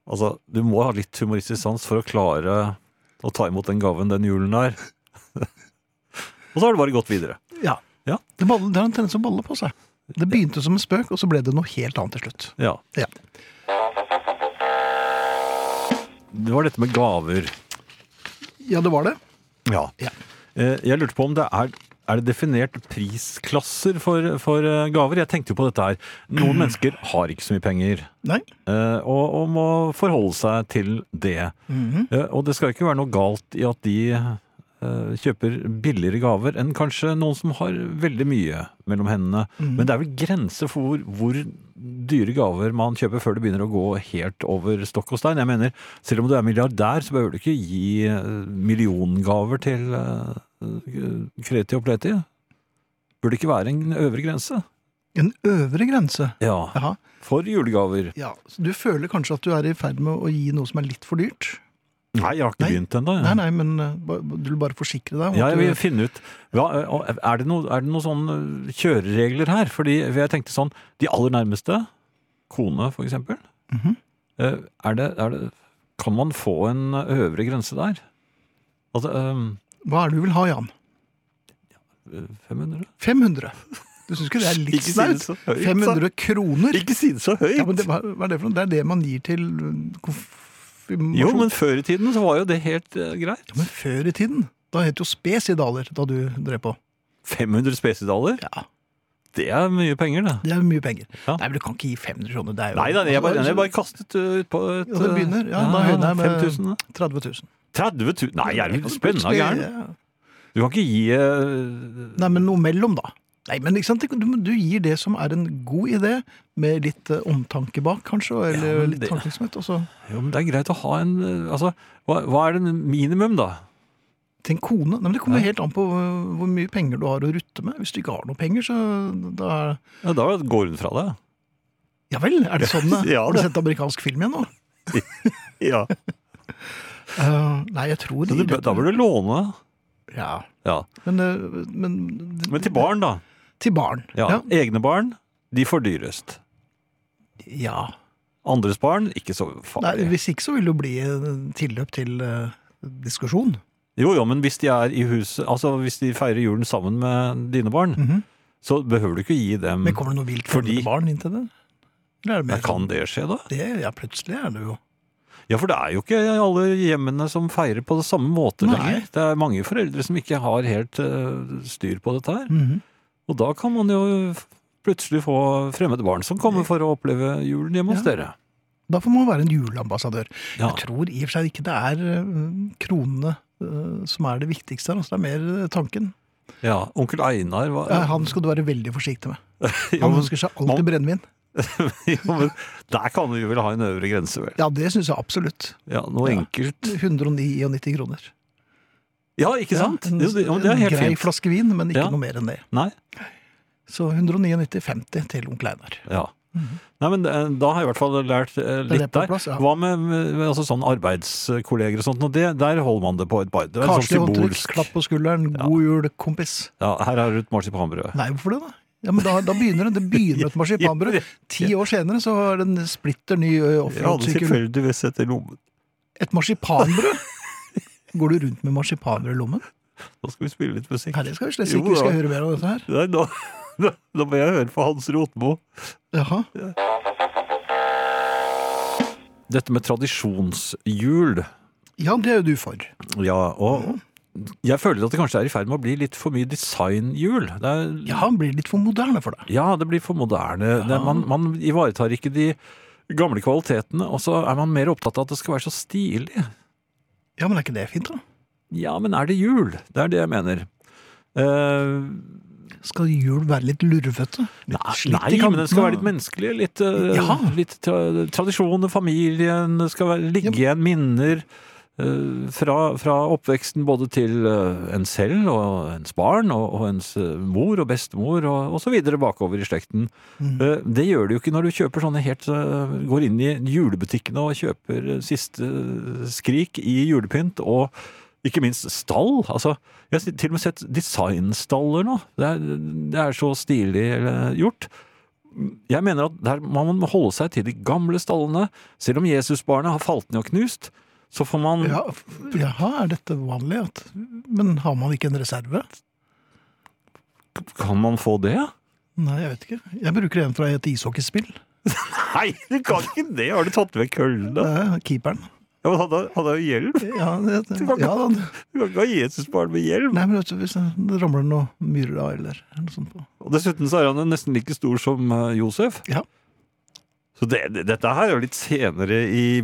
Altså, du må ha litt humoristisk sans for å klare å ta imot den gaven den julen er. og så har det bare gått videre. Ja. Ja. Det, baller, det har en tendens til å balle på seg. Det begynte som en spøk, og så ble det noe helt annet til slutt. Ja. Ja. Det var dette med gaver. Ja, det var det. Ja. Ja. Eh, Jeg lurte på om det er er det definert prisklasser for, for eh, gaver? Jeg tenkte jo på dette her. Noen mennesker har ikke så mye penger. Nei. eh, og, og må forholde seg til det. Mhm. Eh, og det skal ikke være noe galt i at de eh, kjøper billigere gaver enn kanskje noen som har veldig mye mellom hendene. Mhm. Men det er vel grenser for hvor, hvor dyre gaver man kjøper før det begynner å gå helt over stokk og stein. Jeg mener, selv om du er milliardær, så behøver du ikke gi eh, milliongaver til eh, Kreti og Pleti. Burde ikke være en øvre grense. En øvre grense. Ja, Jaha. for julegaver. Ja, så du føler kanskje at du er i ferd med å gi noe som er litt for dyrt? Nei, jeg har ikke Nei. begynt ennå. jeg. Nei, nei, men eh, ba- du vil bare forsikre deg? om Ja, at jeg du- vil finne ut hva, og Er det noen noe sånn øh, kjøreregler her? Fordi jeg tenkte sånn De aller nærmeste, kone for eksempel Mhm. eh, er, det, er det Kan man få en øvre grense der? Altså øhm, Hva er det du vil ha, Jan? øh, 500? 500. Du syns ikke det er litt snaut? så høyt. 500 kroner? Ikke si det så høyt! Ja, men det, hva hva er det for noe? Det er det man gir til eh, konfirmasjon? Jo, men før i tiden så var jo det helt eh, greit. Ja, men før i tiden? Da het jo spesidaler da du drev på. 500 spesidaler? Ja, Det er mye penger, det. Det er mye penger. Ja. Nei, men Du kan ikke gi 500 kroner. Det er jo Nei da, jeg bare, jeg bare kastet ut på et Ja, det eh, begynner. Ja, da høyner jeg med- 5000. da. 30 000. 30 000? Nei, er du spennende gæren? Ja. Du kan ikke gi eh, Nei, men noe mellom, da. Nei, men ikke sant? Du, du gir det som er en god idé, med litt eh, omtanke bak, kanskje, og- eller men litt det- tankevirksomhet. Og så Jo, men det er greit å ha en eh, Altså, hva, hva er det minimum, da? til en kone. Nei, men Det kommer Ja. helt an på eh, hvor mye penger du har å rutte med. Hvis du ikke har noe penger, så da Ja, da går hun fra deg. Ja vel, er det sånn? eh? Ja, Har du det- sett amerikansk film igjen nå? Ja. Eh, nei, jeg tror Så du, bør- da bør du låne. Ja. Ja. Men, eh, men, Men til barn, da. Til barn. Ja. Ja. Egne barn, de får dyrest. ja. Andres barn, ikke så Nei, farlig. hvis ikke så vil det jo bli eh, tilløp til eh, diskusjon. Jo, jo, men hvis de er i huset, altså hvis de feirer julen sammen med dine barn, Mhm. så behøver du ikke gi dem Men kommer det noe vilt Mm. Fordi- fremmede barn inn til det? Eller er det Ja, mer sånn, Kan det skje, da? det? Ja, plutselig er det jo Ja, for det er jo ikke alle hjemmene som feirer på det samme måte Nei. lenger. Det er mange foreldre som ikke har helt eh, styr på dette her. Mhm. Og da kan man jo f- plutselig få fremmede barn som kommer for å oppleve julen hjemme hos Ja. dere. Da får man være en juleambassadør. Ja. Jeg tror i og for seg ikke det er eh, kronene eh, som er det viktigste her. Altså, det er mer eh, tanken. ja. Onkel Einar var Eh, Han skal du være veldig forsiktig med. jo, Han men, ønsker seg man- alltid brennevin. jo, men der kan vi vel ha en øvre grense, vel? Ja, det syns jeg absolutt. Ja, noe Ja. enkelt. 199 kroner. Ja, ikke sant? Ja, en, Jo, det, jo, det er helt en grei fint. flaske vin, men ikke Ja. noe mer enn det. Nei, Så 199,50 til onkel Einar. ja. Nei, men eh, da har jeg i hvert fall lært eh, er litt på der. plass, ja. Hva med, med altså, sånn arbeidskolleger og sånt? Og det, der holder man det på et bar. Det er sånn Karslig håndtrykk, symbolsk. klapp på skulderen, god jul, kompis. Ja, her har du et marsipanbrød. Nei, hvorfor det, da? Ja, men da, da begynner det. Det begynner et marsipanbrød. Ti år senere så er det en splitter ny ø, Jeg hadde offroad-sykkel. tilfeldigvis sett i lommen. Et marsipanbrød? Går du rundt med marsipanbrød i lommen? Nå skal vi spille litt musikk. Nei, det skal vi slett Jo, ikke. Vi skal ja. høre mer om dette her. Nei, nå, nå, nå må jeg høre på Hans Rotmo. Jaha. Dette med tradisjonshjul, Ja, det er jo du for. ja, og Mm. jeg føler at det kanskje er i ferd med å bli litt for mye designhjul. Det er, Ja, han blir litt for moderne for deg. Ja, det blir for moderne. Det, man, man ivaretar ikke de gamle kvalitetene, og så er man mer opptatt av at det skal være så stilig. Ja, men er ikke det fint, da? Ja, men er det jul? Det er det jeg mener. Eh, Skal jul være litt lurvete? Litt nei, slitt i nei, men den kantene? skal være litt menneskelig. Litt, eh, Ja. litt tra tradisjon, familien, det skal være, ligge igjen minner eh, fra, fra oppveksten både til eh, en selv og ens barn og, og ens eh, mor og bestemor og, og så videre bakover i slekten. Eh, Det gjør det jo ikke når du kjøper sånne helt eh, Går inn i julebutikkene og kjøper eh, siste skrik i julepynt og ikke minst stall. Altså, jeg har til og med sett designstaller nå. Det er, det er så stilig eh, gjort. Jeg mener at der må man holde seg til de gamle stallene. Selv om Jesusbarnet har falt ned og knust, så får man Ja, f- jaha, er dette vanlig? At, men har man ikke en reserve? Kan man få det? Nei, jeg vet ikke. Jeg bruker en fra et ishockeyspill. Nei, du kan ikke det! Har du tatt vekk køllene? Det er keeperen. Ja, men han har- han har jo hjelm! Ja, det, Du kan ikke- ja da. Du kan ikke ha Jesusbarn med hjelm! Nei, men vet du, hvis det ramler noe myrer av, eller noe sånt på. Og dessuten så er han jo nesten like stor som eh, Josef. Ja. Så det, det, dette her er jo litt senere i Ja,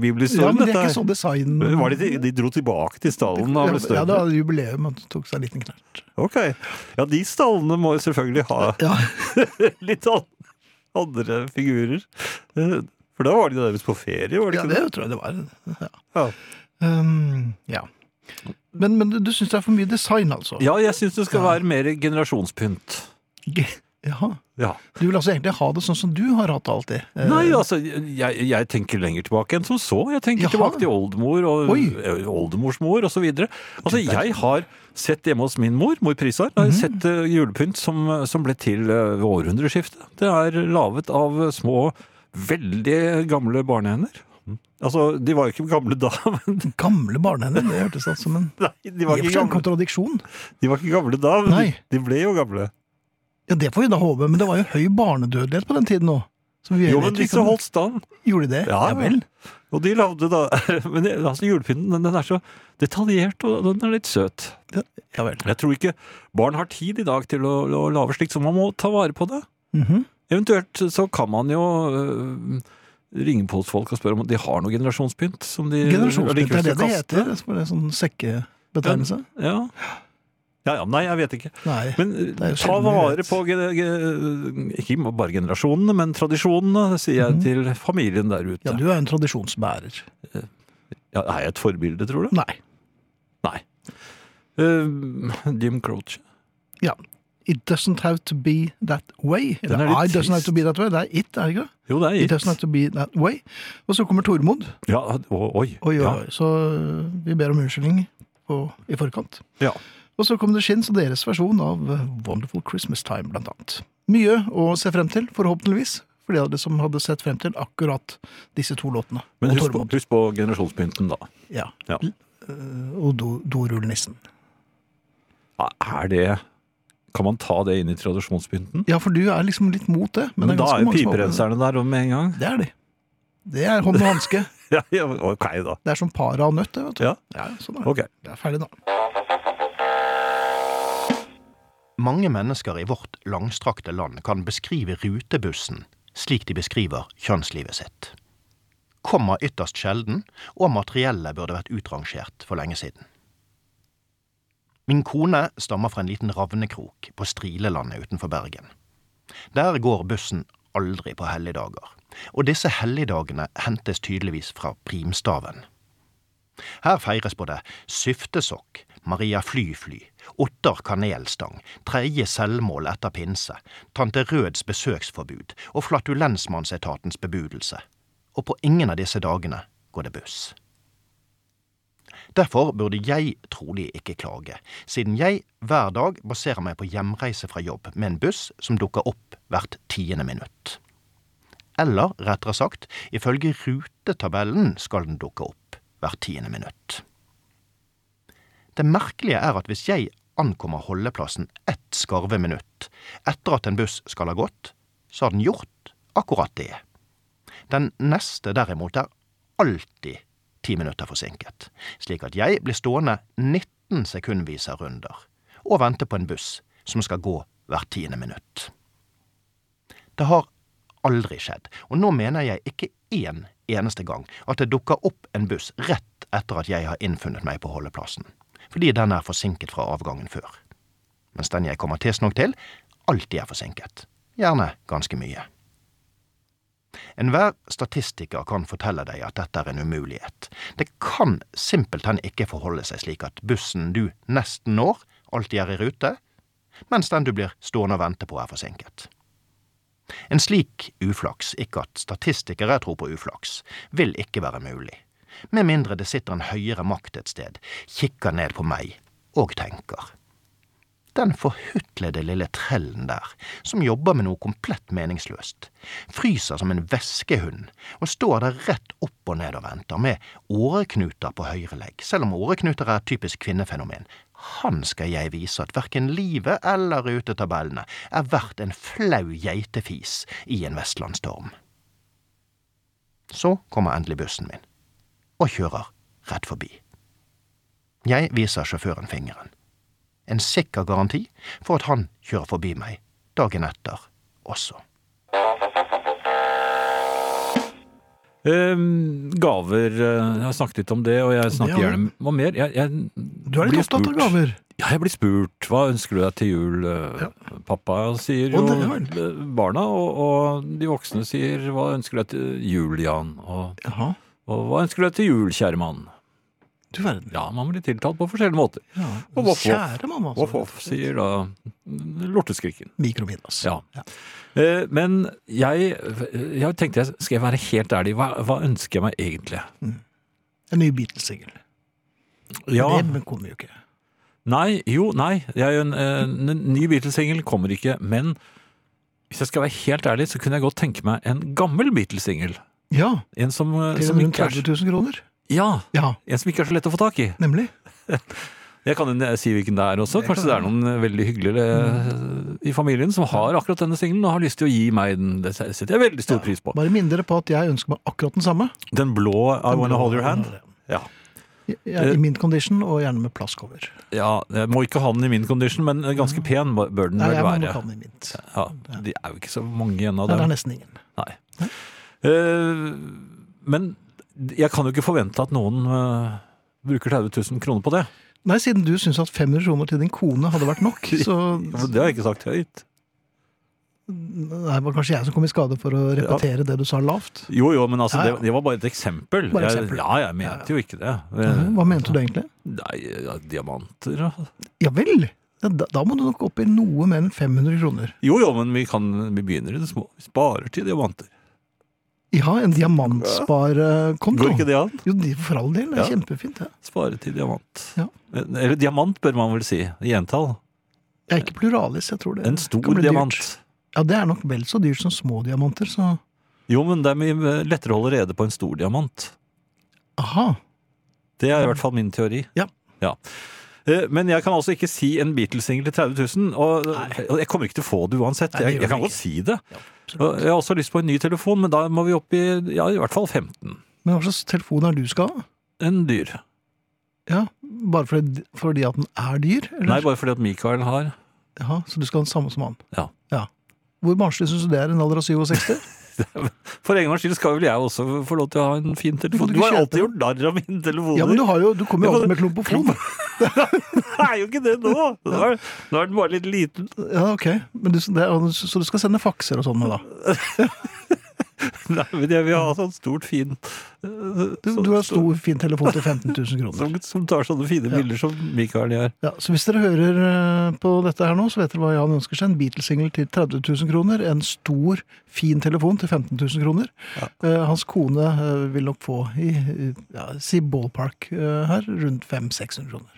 men bibelhistorien. det er dette ikke her. sånn design... Men Var det de, de dro tilbake til stallen da han Ja, ble det større? var jubileum, han tok seg en liten knert. Ok. Ja, de stallene må jo selvfølgelig ha Ja, litt an- andre figurer. Eh, For da var de nærmest på ferie, var de ja, ikke det det? tror jeg det var. Ja. Ja. Um, ja. Men, men du syns det er for mye design, altså? Ja, jeg syns det skal være mer generasjonspynt. Jaha. Ja. Du vil altså egentlig ha det sånn som du har hatt det alltid? Eh, Nei, altså, jeg, jeg tenker lenger tilbake enn som så. Jeg tenker Jaha. tilbake til oldemor og Oi. eh, oldemors mor osv. Altså, jeg har sett hjemme hos min mor, mor Prisar, Mhm. har jeg sett eh, julepynt som, eh, som ble til eh, ved århundreskiftet. Det er laget av eh, små, veldig gamle barnehender. Mhm. Altså, de var jo ikke gamle da, men Gamle barnehender, det hørtes ut som en nei, de i og var for ikke seg en gamle, kontradiksjon. de var ikke gamle da, men de, Nei. de ble jo gamle. Ja, det får vi da håpe, men det var jo høy barnedødelighet på den tiden òg. Jo, men disse holdt stand. Gjorde de det? Ja, vel. Og de lagde da Men det- altså, julepynten, den, den er så detaljert, og den er litt søt. Ja, ja vel. Jeg tror ikke barn har tid i dag til å, å lage slikt, så man må ta vare på det. Mhm. Eventuelt så kan man jo øh, ringe på hos folk og spørre om de har noe generasjonspynt. Som de Generasjonspynt allikevel er det skal det kaste. heter. Det er en sånn sekkebetegnelse. Ja. ja ja, nei, jeg vet ikke. Nei. Men øh, Det er jo ta sjelden vi vare vet. på ge- ge- ikke bare generasjonene, men tradisjonene, sier jeg til familien der ute. Mhm. Ja, du er en tradisjonsbærer. Ja, er jeg et forbilde, tror du? Nei. Nei. Eh, Jim Øh, Croce. Ja. It doesn't have to be that way. er Eller litt I doesn't have trist. to be that way. Det er it, er det ikke det? Jo, det er It doesn't have gitt. to be that way. Og så kommer Tormod. Ja, å- oi. Oi, oi, Ja. oi. Så øh, vi ber om unnskyldning på, i forkant. Ja. Og så kom det Shins og deres versjon av øh, Wonderful Christmas Time, blant annet. Mye å se frem til, forhåpentligvis. For de av dere som hadde sett frem til akkurat disse to låtene. Men og husk på, Tormod. Mm. husk på generasjonspynten, da. Ja. Øh, Ja. Og do- dorullnissen. Ja, Er det Kan man ta det inn i tradisjonspynten? Ja, for du er liksom litt mot det. Men, Men, det er da ganske er mange som har- piperenserne der om med en gang. Det er de. Det er hånd og hanske. Ja, ja, ok, da. Det er som para og nøtt, det, vet du. Ja, sånn er det. ok. Det er ferdig nå. Mange mennesker i vårt langstrakte land kan beskrive rutebussen slik de beskriver kjønnslivet sitt. Komma ytterst sjelden, og materiellet burde vært utrangert for lenge siden. Min kone stammer fra en liten ravnekrok på Strilelandet utenfor Bergen. Der går bussen aldri på helligdager, og disse helligdagene hentes tydeligvis fra primstaven. Her feires både syftesokk, Maria Flyfly, Otter kanelstang, tredje selvmål etter pinse, Tante Røds besøksforbud og flatulensmannsetatens bebudelse. Og på ingen av disse dagene går det buss. Derfor burde jeg trolig ikke klage, siden jeg hver dag baserer meg på hjemreise fra jobb med en buss som dukker opp hvert tiende minutt. Eller, rettere sagt, ifølge rutetabellen skal den dukke opp hvert tiende minutt. Det merkelige er at hvis jeg ankommer holdeplassen ett skarve minutt etter at en buss skal ha gått, så har den gjort akkurat det. Den neste, derimot, er alltid ti minutter forsinket, slik at jeg blir stående 19 sekundvis av runder og vente på en buss som skal gå hvert tiende minutt. Det har aldri skjedd, og nå mener jeg ikke én eneste gang at det dukker opp en buss rett etter at jeg har innfunnet meg på holdeplassen, fordi den er forsinket fra avgangen før. Mens den jeg kommer tidsnok til, alltid er forsinket. Gjerne ganske mye. Enhver statistiker kan fortelle deg at dette er en umulighet. Det kan simpelthen ikke forholde seg slik at bussen du nesten når, alltid er i rute, mens den du blir stående og vente på, er forsinket. En slik uflaks, ikke at statistikere tror på uflaks, vil ikke være mulig, med mindre det sitter en høyere makt et sted, kikker ned på meg og tenker. Den forhutlede lille trellen der, som jobber med noe komplett meningsløst, fryser som en veskehund og står der rett opp og ned og venter, med åreknuter på høyre legg, selv om åreknuter er et typisk kvinnefenomen. Han skal jeg vise at verken livet eller rutetabellene er verdt en flau geitefis i en vestlandsstorm. Så kommer endelig bussen min, og kjører rett forbi. Jeg viser sjåføren fingeren en sikker garanti for at han kjører forbi meg dagen etter også. Ehm, gaver eh, Jeg har snakket litt om det, og jeg snakker Det har du. gjerne om mer. Jeg, jeg Du er litt blir opptatt av spurt. gaver. Ja, jeg blir spurt hva ønsker du deg til jul. eh, Pappa sier jo Å, det eh, barna, og, og de voksne sier hva ønsker du deg til jul, Jan? Og, Jaha. og hva ønsker du deg til jul, kjære mann? Du verden. Ja, man blir tiltalt på forskjellige måter. Ja. Og voff, voff. Kjære mamma, altså. Voff, voff, sier da mm, lorteskriken. Mikrominas. Ja. Eh, Men jeg, jeg tenkte, jeg, skal jeg være helt ærlig, hva, hva ønsker jeg meg egentlig? En ny Beatles-singel. Ja, Det kommer jo ikke. nei, jo, nei, jeg, en, eh, en, en ny Beatles-singel kommer ikke, men hvis jeg skal være helt ærlig, så kunne jeg godt tenke meg en gammel Beatles-singel. Ja. En som, eh, Til som, rundt ikke 30 er, 000 kroner. så- ja, Ja, en som ikke er så lett å få tak i. nemlig. Jeg kan eh, si hvilken det er også. Kanskje det er noen eh, veldig hyggelige Mm. eh, i familien som har akkurat denne singelen og har lyst til å gi meg den. Det setter jeg veldig stor pris på. Bare minn dere på at jeg ønsker meg akkurat den samme. Den blå I Den Wanna blå Hold Your I Hand? Wanna Hold Ja. Jeg- Eh. jeg- I mint condition, og gjerne med plastcover. ja. Jeg må ikke ha den i min condition, men ganske pen bør den Mm. Nei, vel jeg må nok ha være. den i mint. Ja, de er jo ikke så mange igjen av Nei, det er dem. nesten ingen. Nei. Eh, men jeg kan jo ikke forvente at noen eh, bruker 30 000 kroner på det. Nei, siden du syns at 500 kroner til din kone hadde vært nok, så Men Det har jeg ikke sagt høyt. Nei, Det var kanskje jeg som kom i skade for å repetere det du sa lavt. Jo, jo, men altså, Ja, ja. Det, det var bare et eksempel. Bare Jeg- eksempel. Ja, jeg Mhm, mente jo ikke det. Hva mente du egentlig? Nei, ja, diamanter og Ja vel! Ja, Da, da må du nok opp i noe mer enn 500 kroner. Jo, jo, men vi, kan, vi begynner i det små. Vi sparer til diamanter. Ja, en Går diamantsparekonto. ikke det an? Jo, de- for all del. Det er Ja. kjempefint. Ja. Spare til diamant. Eh, Ja. Eller diamant, bør man vel si. I entall. Jeg er ikke pluralis, jeg tror det. kan En stor bli diamant. Dyrt. Ja, det er nok vel så dyrt som små diamanter, så Jo, men det er mye lettere å holde rede på en stor diamant. aha. Det er i hvert fall min teori. Ja. Eh, Men jeg kan altså ikke si en Beatles-singel til 30 000, og, og jeg kommer ikke til å få det uansett. Nei, det jeg, gjør jeg kan du godt si det. Og jeg har også lyst på en ny telefon, men da må vi opp i ja, i hvert fall 15. Men hva slags telefon er det du skal ha? En dyr. Ja, Bare fordi, fordi at den er dyr? Eller? Nei, bare fordi at Michael har Ja, så du skal ha den samme som han? Ja. Hvor barnslig syns du det er i en alder av 67? For en gangs skyld skal vel jeg også få lov til å ha en fin telefon. Du Du kan har kjøpe alltid gjort narr av mine telefoner. Ja, men du, har jo, du kommer jo Ja, alltid men- med klumpofon. Det er jo ikke det nå! Nå er, nå er den bare litt liten. Ja, ok. Men du, det er, så du skal sende fakser og sånn med, da? Nei, men jeg vil ha sånn stort, fin eh, Du, sånn- du har stor, fin telefon til 15 000 kroner. Som, som tar sånne fine bilder som Michael gjør. Ja, så hvis dere hører eh, på dette her nå, så vet dere hva Jan ønsker seg. En Beatles-singel til 30 000 kroner. En stor, fin telefon til 15 000 kroner. Eh, hans kone eh, vil nok få i, i ja, si ballpark eh, her, rundt 500-600 kroner.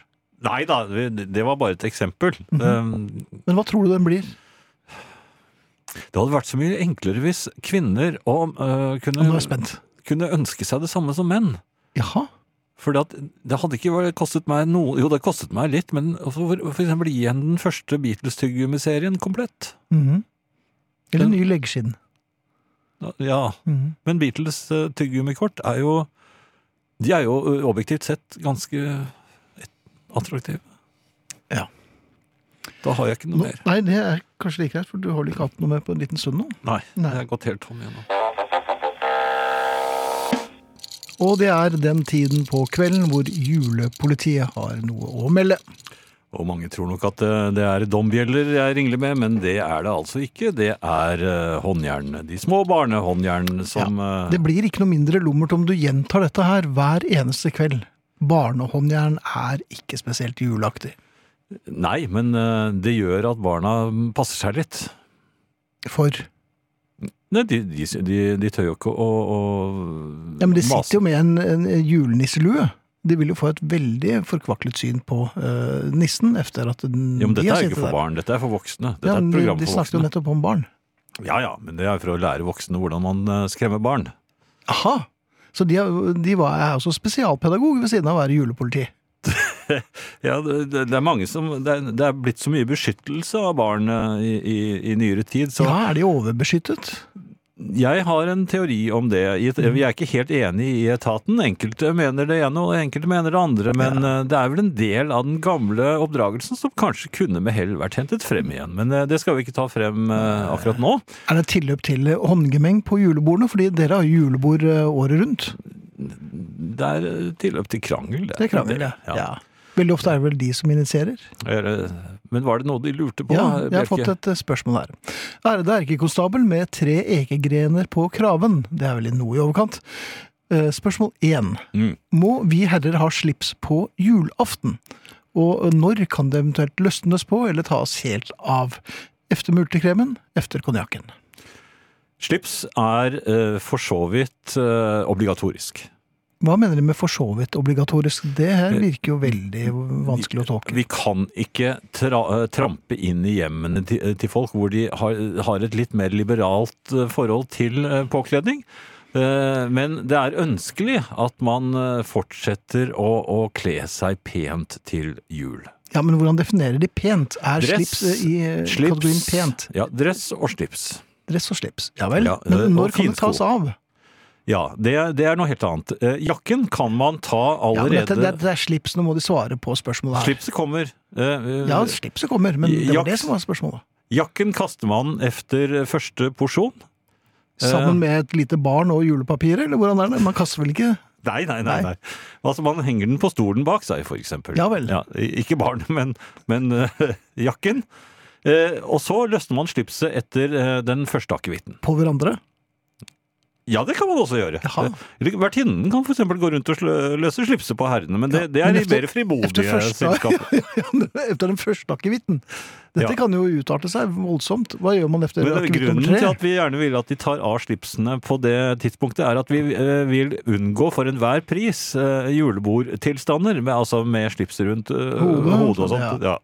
Nei da, det var bare et eksempel. Mhm. Um, Men hva tror du den blir? Det hadde vært så mye enklere hvis kvinner og, Ja, nå er øh, jeg kunne, spent. kunne ønske seg det samme som menn. Eh, Jaha? For det hadde ikke vært- kostet meg noe Jo, det kostet meg litt, men for, for eksempel gi henne den første Beatles-tyggegummiserien komplett. Mhm. Eller ny leggskinn. Ja, Mhm. men Beatles øh, tyggegummikort er jo De er jo øh, objektivt sett ganske attraktive. Ja. Da har jeg ikke noe Nå, mer. nei, det er kanskje like greit, for du har vel ikke hatt noe med på en liten stund nå. Nei, Nei. jeg har gått helt tom igjennom. Og det er den tiden på kvelden hvor julepolitiet har noe å melde. Og mange tror nok at eh, det er dombjeller jeg ringler med, men det er det altså ikke. Det er eh, håndjernene, de små barnehåndjernene som eh, Det blir ikke noe mindre lummert om du gjentar dette her hver eneste kveld. Barnehåndjern er ikke spesielt juleaktig. Nei, men eh, det gjør at barna mm, passer seg litt. For Nei, de, de, de, de tør jo ikke å, å ja, men de mase. sitter jo med en, en julenisselue. De vil jo få et veldig forkvaklet syn på eh, nissen etter at den, Jo, men de dette har er sittet ikke for der. barn, dette er for voksne. Dette Ja, er men de, et program de for snakket jo voksne. nettopp om barn. Ja, ja, men det er for å lære voksne hvordan man eh, skremmer barn. Aha! Så de, er- de var, er også spesialpedagog ved siden av å være julepoliti. Ja, det, det det er mange som det er, det er blitt så mye beskyttelse av barn eh, i, i, i nyere tid, så Ja, er de overbeskyttet? Jeg har en teori om det. I et- Vi er ikke helt enige i etaten. Enkelte mener det ene, og enkelte mener det andre. Men eh, det er vel en del av den gamle oppdragelsen som kanskje kunne med hell vært hentet frem igjen. Men eh, det skal vi ikke ta frem eh, akkurat nå. Er det tilløp til håndgemeng på julebordene? Fordi dere har julebord eh, året rundt. Det er eh, tilløp til krangel. Det er krangel, ja. ja. Veldig ofte er det vel de som initierer. Er det- Men var det noe de lurte på? Ja, jeg har Bjerke? fått et eh, spørsmål her. Ærede erkekonstabel med tre ekegrener på kraven. Det er vel noe i overkant. Eh, Spørsmål én. Mm. Må vi herrer ha slips på julaften? Og når kan det eventuelt løsnes på eller tas helt av? Efter multekremen, efter konjakken. Slips er eh, for så vidt eh, obligatorisk. Hva mener de med for så vidt obligatorisk? Det her virker jo veldig vanskelig å tolke. Vi kan ikke tra eh, trampe inn i hjemmene til, eh, til folk hvor de har, har et litt mer liberalt eh, forhold til eh, påkledning. Eh, Men det er ønskelig at man eh, fortsetter å, å kle seg pent til jul. Ja, Men hvordan definerer de pent? Er Dress, slips eh, i eh, slips- kategorien pent? Ja, dress og slips. Dress og slips. Ja vel. Ja, eh, men og når kan det finsko. tas av? Ja, det, det er noe helt annet. Eh, Jakken kan man ta Ja, men dette, allerede det, det er slips, nå må de svare på spørsmålet her. Slipset kommer. Eh, eh, Ja, slipset kommer, men det var Jakt. det som var spørsmålet. Jakken kaster man etter første porsjon. Sammen med et lite barn og julepapir, eller hvordan er det? Man kaster vel ikke Nei, nei, nei. Nei. nei. Altså, man henger den på stolen bak seg, for eksempel. Ja vel. i- ikke barnet, men, men eh, jakken. Eh, og så løsner man slipset etter eh, den første akevitten. på hverandre? Ja, det kan man også gjøre. Jaha. Eller Vertinnen kan f.eks. gå rundt og slø- løse slipset på herrene, men det, det er men i efter- mer Efter, frimodige første, selskaper. ja, ja, efter den første akevitten. Dette Ja. kan jo utarte seg voldsomt. Hva gjør man efter Men akevitt Grunnen nummer til tre? at vi gjerne vil at de tar av slipsene på det tidspunktet, er at vi eh, vil unngå for enhver pris eh, julebordtilstander, med, altså med slipset rundt eh, Hodet. hodet og sånt. Ja,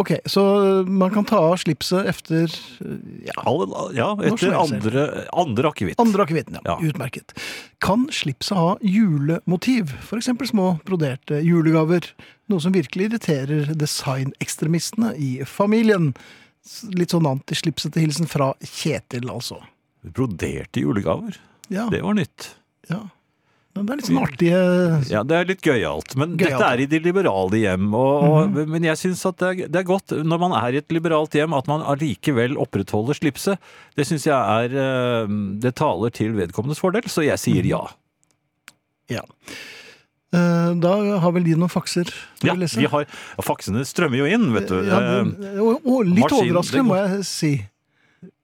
Ok, så eh, man kan ta av slipset efter eh, ja, Al- ja etter slags er andre, andre akevitt. andre akevitten. Ja. Ja. Utmerket. Kan slipset ha julemotiv? F.eks. små broderte julegaver. Noe som virkelig irriterer designekstremistene i familien. S- Litt sånn antislipsete hilsen fra Kjetil, altså. Broderte julegaver. Ja, Det var nytt. ja. Men det er litt sånn artige Ja, Det er litt gøyalt. Men Gøyalt. Mhm. dette er i de liberale hjem. Og, og, Men jeg syns at det er, det er godt når man er i et liberalt hjem, at man allikevel opprettholder slipset. Det syns jeg er eh, Det taler til vedkommendes fordel, så jeg Mhm. sier ja. Ja. Eh, Da har vel de noen fakser til Ja, å lese? vi har, ja, Faksene strømmer jo inn, vet du. Ja, Eh, men- og, og litt maskin- overraskende, det må går- jeg si.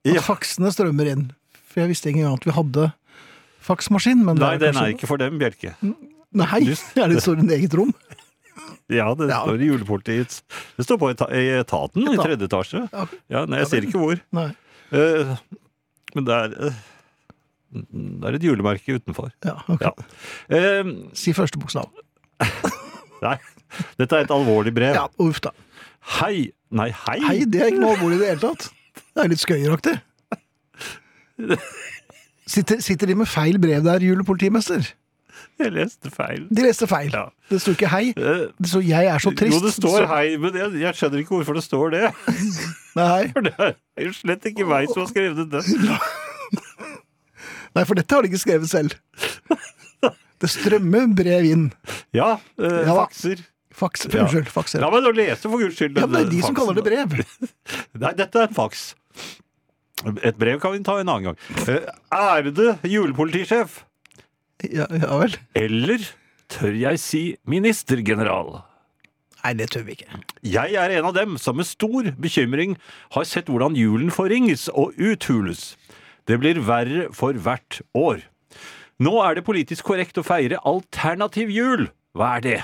At Ja. faksene strømmer inn. For jeg visste ikke engang at vi hadde faksmaskin. Men Nei, det den er ikke for dem, Bjerke. Nei, Du- er det står i et eget rom? Ja, det Ja. står i julepolitiets Det står på eta- i etaten, i Etat. tredje etasje. Ja. Ja, nei, jeg ser ikke hvor. Nei. Eh, Men det er eh, Det er et julemerke utenfor. Ja, ok. Ja. Eh, Si første bokstav. Nei, dette er et alvorlig brev. Ja, uff da. Hei! Nei, hei! Hei, det er ikke noe alvorlig i det hele tatt. Det er litt skøyeraktig. Sitter, sitter de med feil brev der, julepolitimester? Jeg leste feil. De leste feil. Ja. Det står ikke hei. Eh, Det står 'jeg er så trist'. Jo, det står Så- hei, men jeg, jeg skjønner ikke hvorfor det står det. Nei. For det er jo slett ikke meg som har skrevet det. Nei, for dette har de ikke skrevet selv. Det strømmer brev inn. Ja, eh, Ja da. fakser. Faks, Ja. Unnskyld, fakser. La meg nå lese, for guds skyld. Ja, men det er de som kaller det brev. Nei, dette er en faks. Et brev kan vi ta en annen gang. Eh, Ærede julepolitisjef, Ja, ja vel. eller tør jeg si ministergeneral? Nei, det tør vi ikke. Jeg er en av dem som med stor bekymring har sett hvordan julen forringes og uthules. Det blir verre for hvert år. Nå er det politisk korrekt å feire alternativ jul. Hva er det?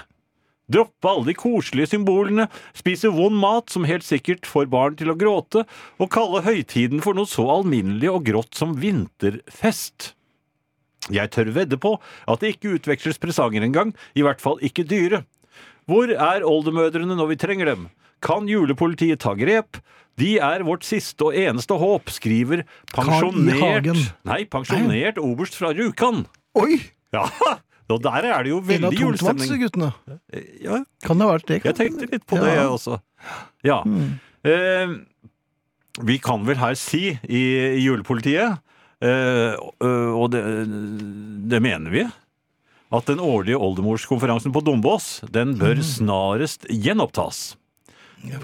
Droppe alle de koselige symbolene, spise vond mat som helt sikkert får barn til å gråte, og kalle høytiden for noe så alminnelig og grått som vinterfest. Jeg tør vedde på at det ikke utveksles presanger engang, i hvert fall ikke dyre. Hvor er oldemødrene når vi trenger dem? Kan julepolitiet ta grep? De er vårt siste og eneste håp, skriver Carl I. pensjonert Hagen. Nei, pensjonert oberst fra Rjukan. Oi! Ja, og der er det jo Veldig veldig julestemning. Eh, guttene. Ja, Kan det ha vært det? jeg tenkte litt på det, Ja. jeg også. Ja. Eh, vi kan vel her si i, i julepolitiet, eh, og og det, det mener vi, at den årlige oldemorskonferansen på Dombås, den bør Mm. snarest gjenopptas.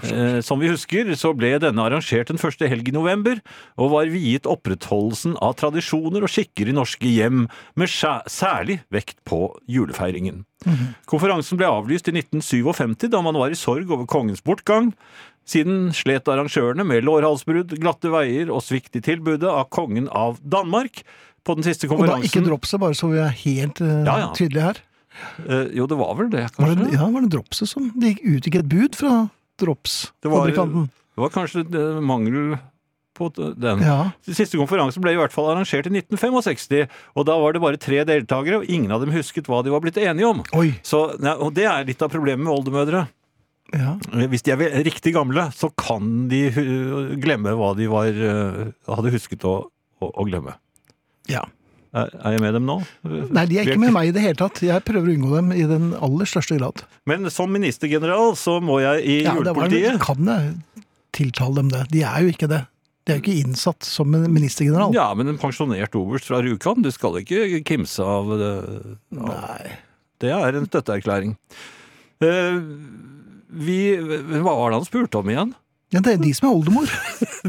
Eh, som vi husker, så ble denne arrangert den første helg i november, og var viet opprettholdelsen av tradisjoner og skikker i norske hjem, med skjæ- særlig vekt på julefeiringen. Mhm. Konferansen ble avlyst i 1957, da man var i sorg over kongens bortgang. Siden slet arrangørene med lårhalsbrudd, glatte veier og svikt i tilbudet av kongen av Danmark. På den siste Og da ikke konferansen dropset, bare så vi er helt eh, Ja, ja. tydelige her. eh, Jo, det var vel det, Var det, kanskje? ja, var det dropset som Det gikk ut ikke et bud fra Det var- drops-fabrikanten? Det var kanskje eh, mangel på t- den. Ja. Siste konferansen ble i hvert fall arrangert i 1965, og da var det bare tre deltakere, og ingen av dem husket hva de var blitt enige om. Oi. Så, nei, og det er litt av problemet med oldemødre. Ja. Hvis de er ve- riktig gamle, så kan de hu- glemme hva de var, eh, hadde husket å, å, å glemme. ja. Er, er jeg med dem nå? Nei, de er ikke med meg i det hele tatt. Jeg prøver å unngå dem i den aller største grad. Men som ministergeneral så må jeg i Ja, det var, julepolitiet kan jeg tiltale dem det? De er jo ikke det. De er jo ikke innsatt som en ministergeneral. Ja, men en pensjonert oberst fra Rjukan, du skal ikke kimse av det. Nei. Det er en støtteerklæring. Eh, vi Hva var det han spurte om igjen? Ja, det er de som er oldemor.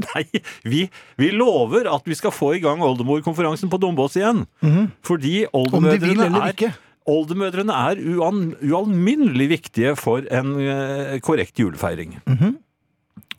Nei, vi, vi lover at vi skal få i gang oldemorkonferansen på Dombås igjen. Fordi Mhm. Om de vil oldemødrene eller er, ikke. oldemødrene er Mhm. uan, ualminnelig viktige for en eh, korrekt julefeiring.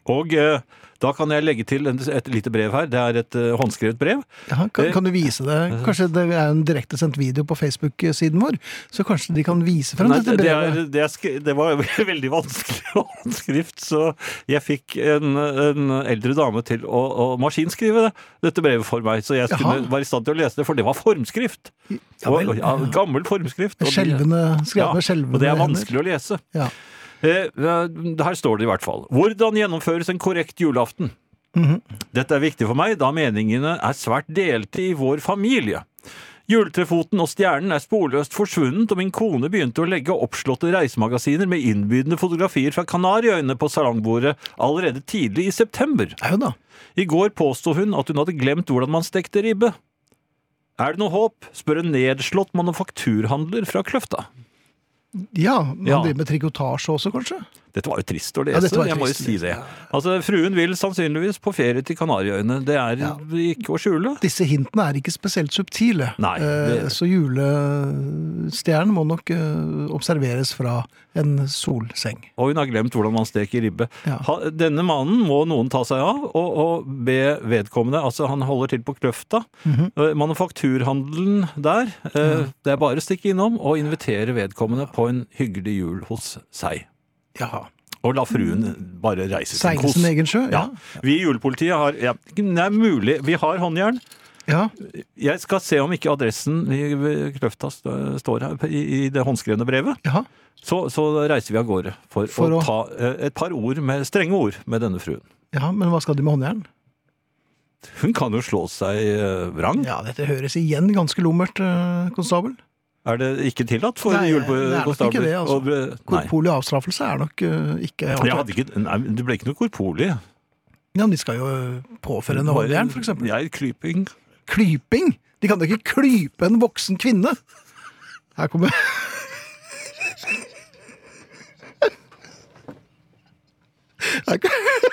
Og eh, da kan jeg legge til en, et lite brev her. Det er et eh, håndskrevet brev. Ja, kan, kan du vise det? Mhm. Kanskje det er en direktesendt video på Facebook-siden vår? Så kanskje de kan vise frem Nei, dette det, det, er, brevet? det, er, sk- det var veldig vanskelig håndskrift, så jeg fikk en, en eldre dame til å, å maskinskrive det, dette brevet for meg. Så jeg skulle, Jaha. var i stand til å lese det, for det var formskrift. Ja vel. Og- og- ja, gammel formskrift. og de- Skjelvende, skrevet med skjelvende Og det er hender. vanskelig å lese. Ja. Eh, her står det i hvert fall. Hvordan gjennomføres en korrekt julaften? Mhm. Dette er viktig for meg, da meningene er svært delte i vår familie. Juletrefoten og stjernen er sporløst forsvunnet, og min kone begynte å legge oppslåtte reisemagagasiner med innbydende fotografier fra Kanariøyene på salongbordet allerede tidlig i september. Ja, jo da. I går påsto hun at hun hadde glemt hvordan man stekte ribbe. Er det noe håp? spør en nedslått manufakturhandler fra Kløfta. Ja, man Ja. driver med trikotasje også, kanskje? Dette var jo trist å Ja, lese, dette var jeg må jo trist å si det. Altså, Fruen vil sannsynligvis på ferie til Kanariøyene. Det er Ja. ikke å skjule. Disse hintene er ikke spesielt subtile, Nei, det- Eh, så julestjernen må nok eh, observeres fra en solseng. Og hun har glemt hvordan man steker ribbe. Ja. Ha- Denne mannen må noen ta seg av, og, og be vedkommende Altså, han holder til på Kløfta. Mhm. Eh, Manufakturhandelen der. eh, Det er bare å stikke innom og invitere vedkommende på en hyggelig jul hos seg. Jaha. Og la fruen bare reise sin Seile kos. sin egen sjø? Ja. Ja. Vi i julepolitiet har ja, Det er mulig. Vi har håndjern. ja. Jeg skal se om ikke adressen i ved Kløfta st- står her i i det håndskrevne brevet. Jaha. Så, så reiser vi av gårde for, For å, å- ta eh, et par ord med, strenge ord med denne fruen. ja, men hva skal de med håndjern? Hun kan jo slå seg eh, vrang. Ja, dette høres igjen ganske lummert, eh, konstabel. Er det ikke tillatt for Nei, det er nok ikke julekonstabler? det, altså. eh, Nei. Korporlig avstraffelse er nok eh, ikke Jeg hadde ikke, nei, men det ble ikke noe korporlig. Ja, men de skal jo påføre henne håndjern, for eksempel. Jeg klyping. Klyping? De kan da ikke klype en voksen kvinne? Her kommer Her kom-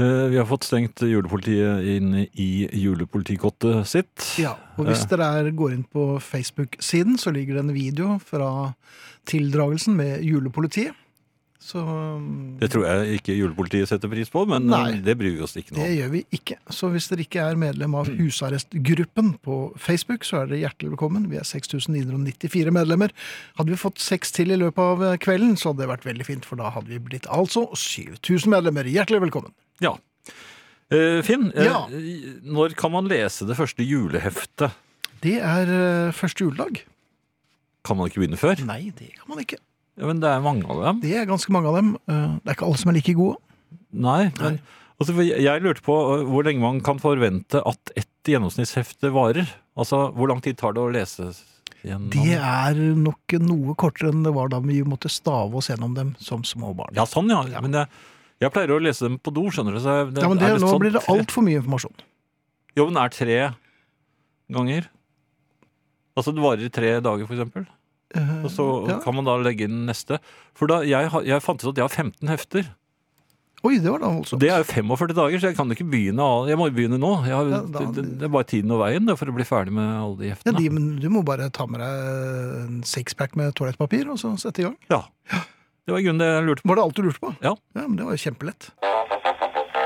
Eh, vi har fått stengt julepolitiet inn i julepolitikottet sitt. Ja, og hvis dere er, går inn på Facebook-siden, så ligger det en video fra tildragelsen med julepolitiet. Så um, Det tror jeg ikke julepolitiet setter pris på, men eh, Nei. det bryr vi oss ikke noe om. det gjør vi ikke. Så hvis dere ikke er medlem av husarrestgruppen på Facebook, så er dere hjertelig velkommen. Vi er 6994 medlemmer. Hadde vi fått seks til i løpet av eh, kvelden, så hadde det vært veldig fint, for da hadde vi blitt altså 7000 medlemmer. Hjertelig velkommen. Ja. Eh, Finn, eh, Ja. når kan man lese det første juleheftet? Det er eh, første juledag. Kan man ikke begynne før? Nei, det kan man ikke. Ja, Men det er mange av dem. Det er ganske mange av dem. Eh, Det er ikke alle som er like gode. Nei, men altså, for jeg- Jeg lurte på eh, hvor lenge man kan forvente at et gjennomsnittshefte varer. Altså, Hvor lang tid tar det å lese gjennom? Det er nok noe kortere enn det var da vi måtte stave oss gjennom dem som små barn. Ja, sånn, ja. Men jeg, jeg pleier å lese dem på do, skjønner du. Så jeg- Ja, men det, er litt Nå sånn blir det tre- altfor mye informasjon. Jo, men er tre ganger. Altså det varer i tre dager, for eksempel. Eh, Og så ja. kan man da legge inn neste. For da, jeg, har- jeg fant ut at jeg har 15 hefter. Oi, det altså. var da voldsomt. Det er jo 45 dager, så jeg kan ikke begynne all- Jeg må jo begynne nå. Jeg har, Ja, da- det, det er bare tiden og veien det, for å bli ferdig med alle de Ja, heftene. de, men du må bare ta med deg en sixpack med toalettpapir og så sette i gang. Ja. Det var i grunnen det jeg lurte på. Var det alt du lurte på? Ja. men Det var jo kjempelett.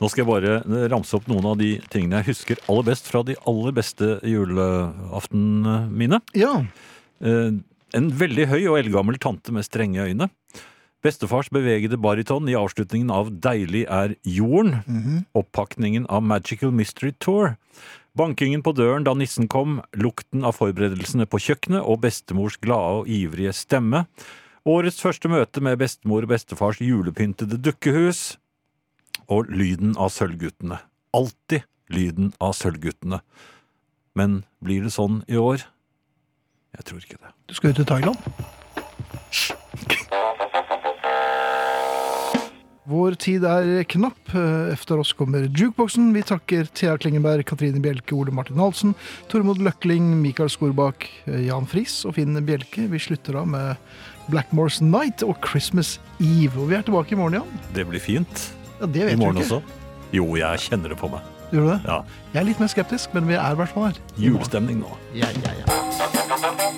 Nå skal jeg bare eh, ramse opp noen av de tingene jeg husker aller best fra de aller beste julaftenene mine. Ja. Eh, En veldig høy og eldgammel tante med strenge øyne. Bestefars bevegede bariton i avslutningen av Deilig er jorden. Oppakningen av Magical Mystery Tour. Bankingen på døren da nissen kom, lukten av forberedelsene på kjøkkenet og bestemors glade og ivrige stemme. Årets første møte med bestemor og bestefars julepyntede dukkehus. Og lyden av Sølvguttene. Alltid lyden av Sølvguttene. Men blir det sånn i år? Jeg tror ikke det. Du skal jo til Thailand. Vår tid er knapp. Efter oss kommer jukeboksen. Vi takker Thea Klingenberg, Katrine Bjelke, Ole Martin Halsen, Tormod Løkling, Mikael Skorbakk, Jan Friis og Finn Bjelke. Vi slutter av med Blackmore's Night og Christmas Eve. Og vi er tilbake i morgen, Jan. Det blir fint Ja, det i vet morgen vi ikke. også. Jo, jeg kjenner det på meg. Gjør du det? Ja, Jeg er litt mer skeptisk, men vi er i hvert fall her. Julestemning nå. Ja, ja, ja.